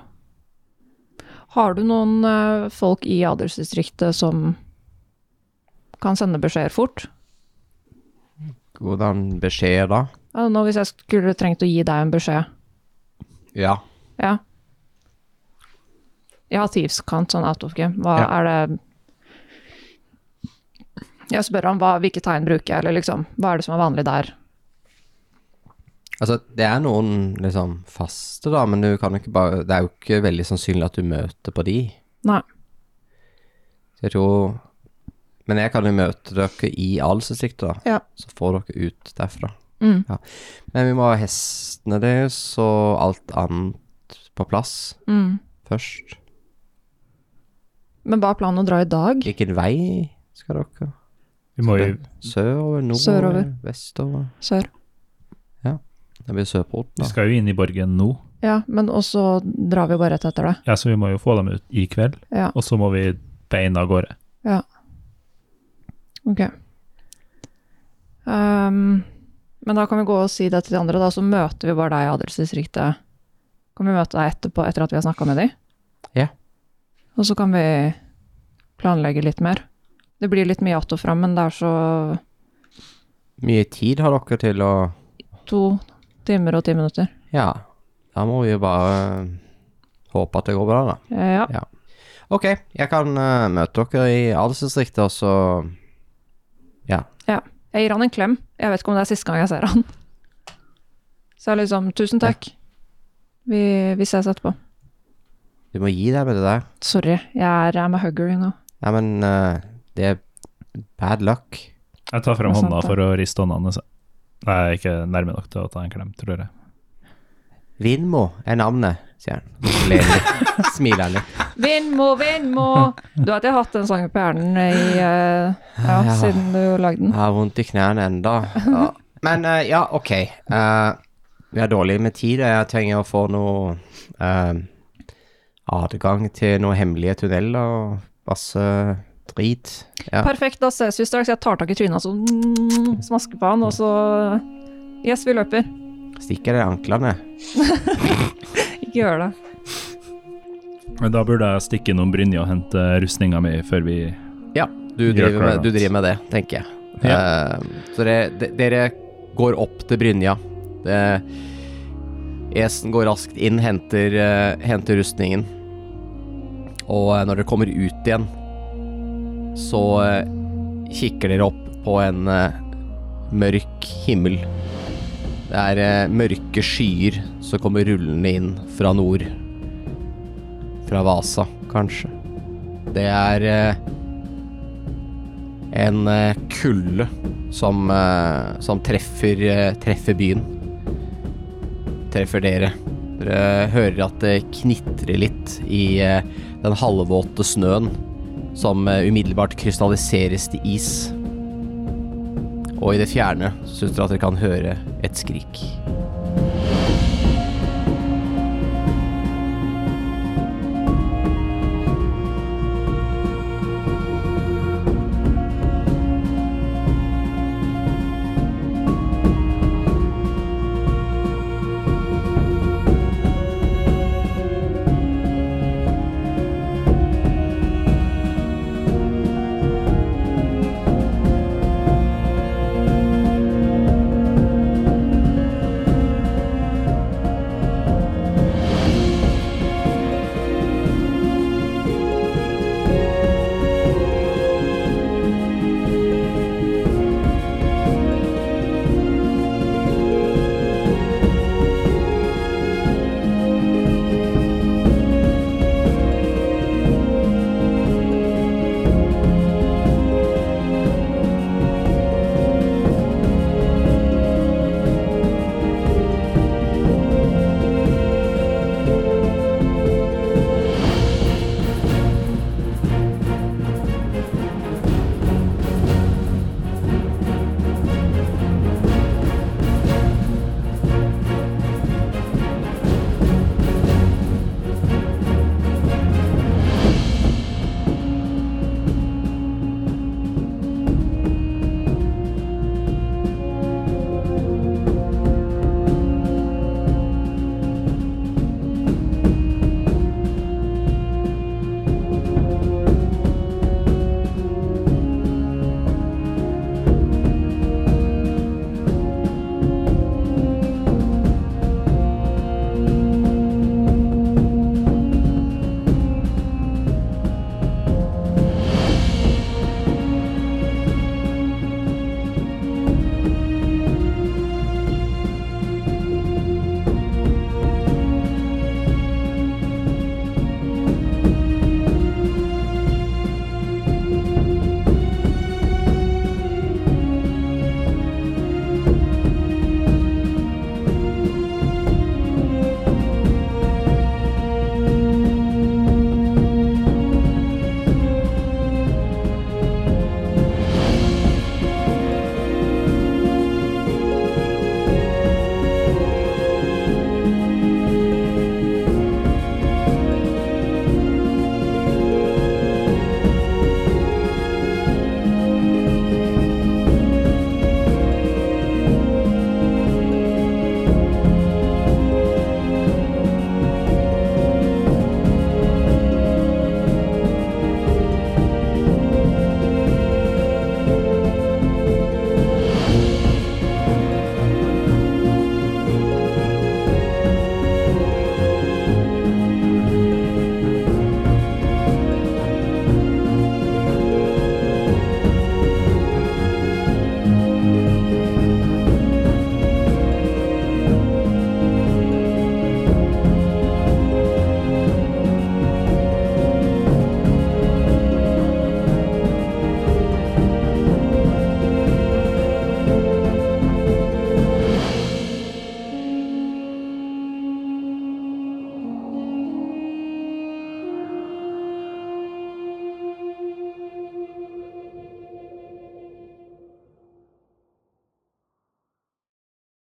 Speaker 8: Har du noen eh, folk i adelsdistriktet som kan sende beskjeder fort?
Speaker 3: Hvordan beskjed da?
Speaker 8: Ja, nå hvis jeg skulle trengt å gi deg en beskjed.
Speaker 3: Ja.
Speaker 8: Ja. Jeg har Thieves-kant, sånn out of game. Hva
Speaker 3: Ja.
Speaker 8: er det Jeg spør om hva, hvilke tegn bruker jeg, eller liksom Hva er det som er vanlig der?
Speaker 3: Altså, det er noen liksom faste da, men du kan jo ikke bare, det er jo ikke veldig sannsynlig at du møter på de.
Speaker 8: Nei.
Speaker 3: Så jeg tror Men jeg kan jo møte dere i Adelsdistriktet, da.
Speaker 8: Ja.
Speaker 3: Så får dere ut derfra.
Speaker 8: Mm.
Speaker 3: Ja. Men vi må ha hestene deres og alt annet på plass
Speaker 8: Mm.
Speaker 3: først.
Speaker 8: Men hva er planen å dra i dag?
Speaker 3: Hvilken vei skal dere?
Speaker 6: Vi må jo
Speaker 3: Sørover, nordover,
Speaker 8: Sørover.
Speaker 3: vestover?
Speaker 8: Sør.
Speaker 3: Det blir sørport,
Speaker 6: Vi
Speaker 3: da.
Speaker 6: skal jo inn i borgen nå,
Speaker 8: Ja, men også drar vi bare rett etter det.
Speaker 6: ja, så vi må jo få dem ut i kveld.
Speaker 8: Ja.
Speaker 6: Og så må vi beina av gårde.
Speaker 8: Ok. Ehm, men da kan vi gå og si det til de andre, da, så møter vi bare deg i adelsdistriktet. Kan vi møte deg etterpå, etter at vi har snakka med de?
Speaker 3: Ja.
Speaker 8: Og så kan vi planlegge litt mer. Det blir litt mye att og fram, men det er så
Speaker 3: Mye tid har dere til å
Speaker 8: to timer og ti minutter.
Speaker 3: Ja. Da må vi jo bare eh, håpe at det går bra, da.
Speaker 8: Eh, Ja.
Speaker 3: Ok, jeg kan eh, møte dere i adelsdistriktet, og så
Speaker 8: Jeg gir han en klem. Jeg vet ikke om det er siste gang jeg ser han. Så jeg er liksom Tusen takk. Vi, vi ses etterpå.
Speaker 3: Du må gi deg med det der.
Speaker 8: Sorry, jeg er I'm a hugger, you know.
Speaker 3: Nei, men eh, det er bad luck.
Speaker 6: Jeg tar frem
Speaker 8: Det er sant,
Speaker 6: hånda
Speaker 8: det.
Speaker 6: for å riste hånda hans. Nei, jeg er ikke nærme nok til å ta en klem, tror jeg.
Speaker 3: Vindmo er navnet, sier han. Så ler han litt. Smiler han litt.
Speaker 8: Vindmo, Vindmo! Du vet jeg har hatt den sangen på hjernen i, eh, ja,
Speaker 3: Ja.
Speaker 8: siden du lagde den.
Speaker 3: Jeg har vondt i knærne enda. Ja. Men eh, ja, ok. Eh, vi er dårlig med tid, og jeg trenger å få noe eh, adgang til noen hemmelige tunneler og masse drit. Ja.
Speaker 8: Perfekt, da ses vi straks. Jeg tar tak i trynet og så mm, smasker på han, og så Yes, vi løper.
Speaker 3: Stikker det i anklene.
Speaker 8: Ikke gjør det.
Speaker 6: Men da burde jeg stikke innom Brynja og hente rustninga mi før vi
Speaker 3: Ja, du
Speaker 6: Gjør
Speaker 3: driver, med,
Speaker 6: Cardinals.
Speaker 3: du driver med det, tenker jeg. Eh, så det, de, dere går opp til Brynja. Det, Esen går raskt inn, henter, eh, henter rustningen. Og eh, når dere kommer ut igjen, så eh, kikker dere opp på en eh, mørk himmel. Det er eh, mørke skyer som kommer rullende inn fra nord. Fra Vasa, kanskje. Det er eh, en eh, kulde som, eh, som treffer, eh, treffer byen. Treffer dere. Dere hører at det knitrer litt i eh, den halvvåte snøen, som eh, umiddelbart krystalliseres til is. Og i det fjerne så syns dere at dere kan høre et skrik.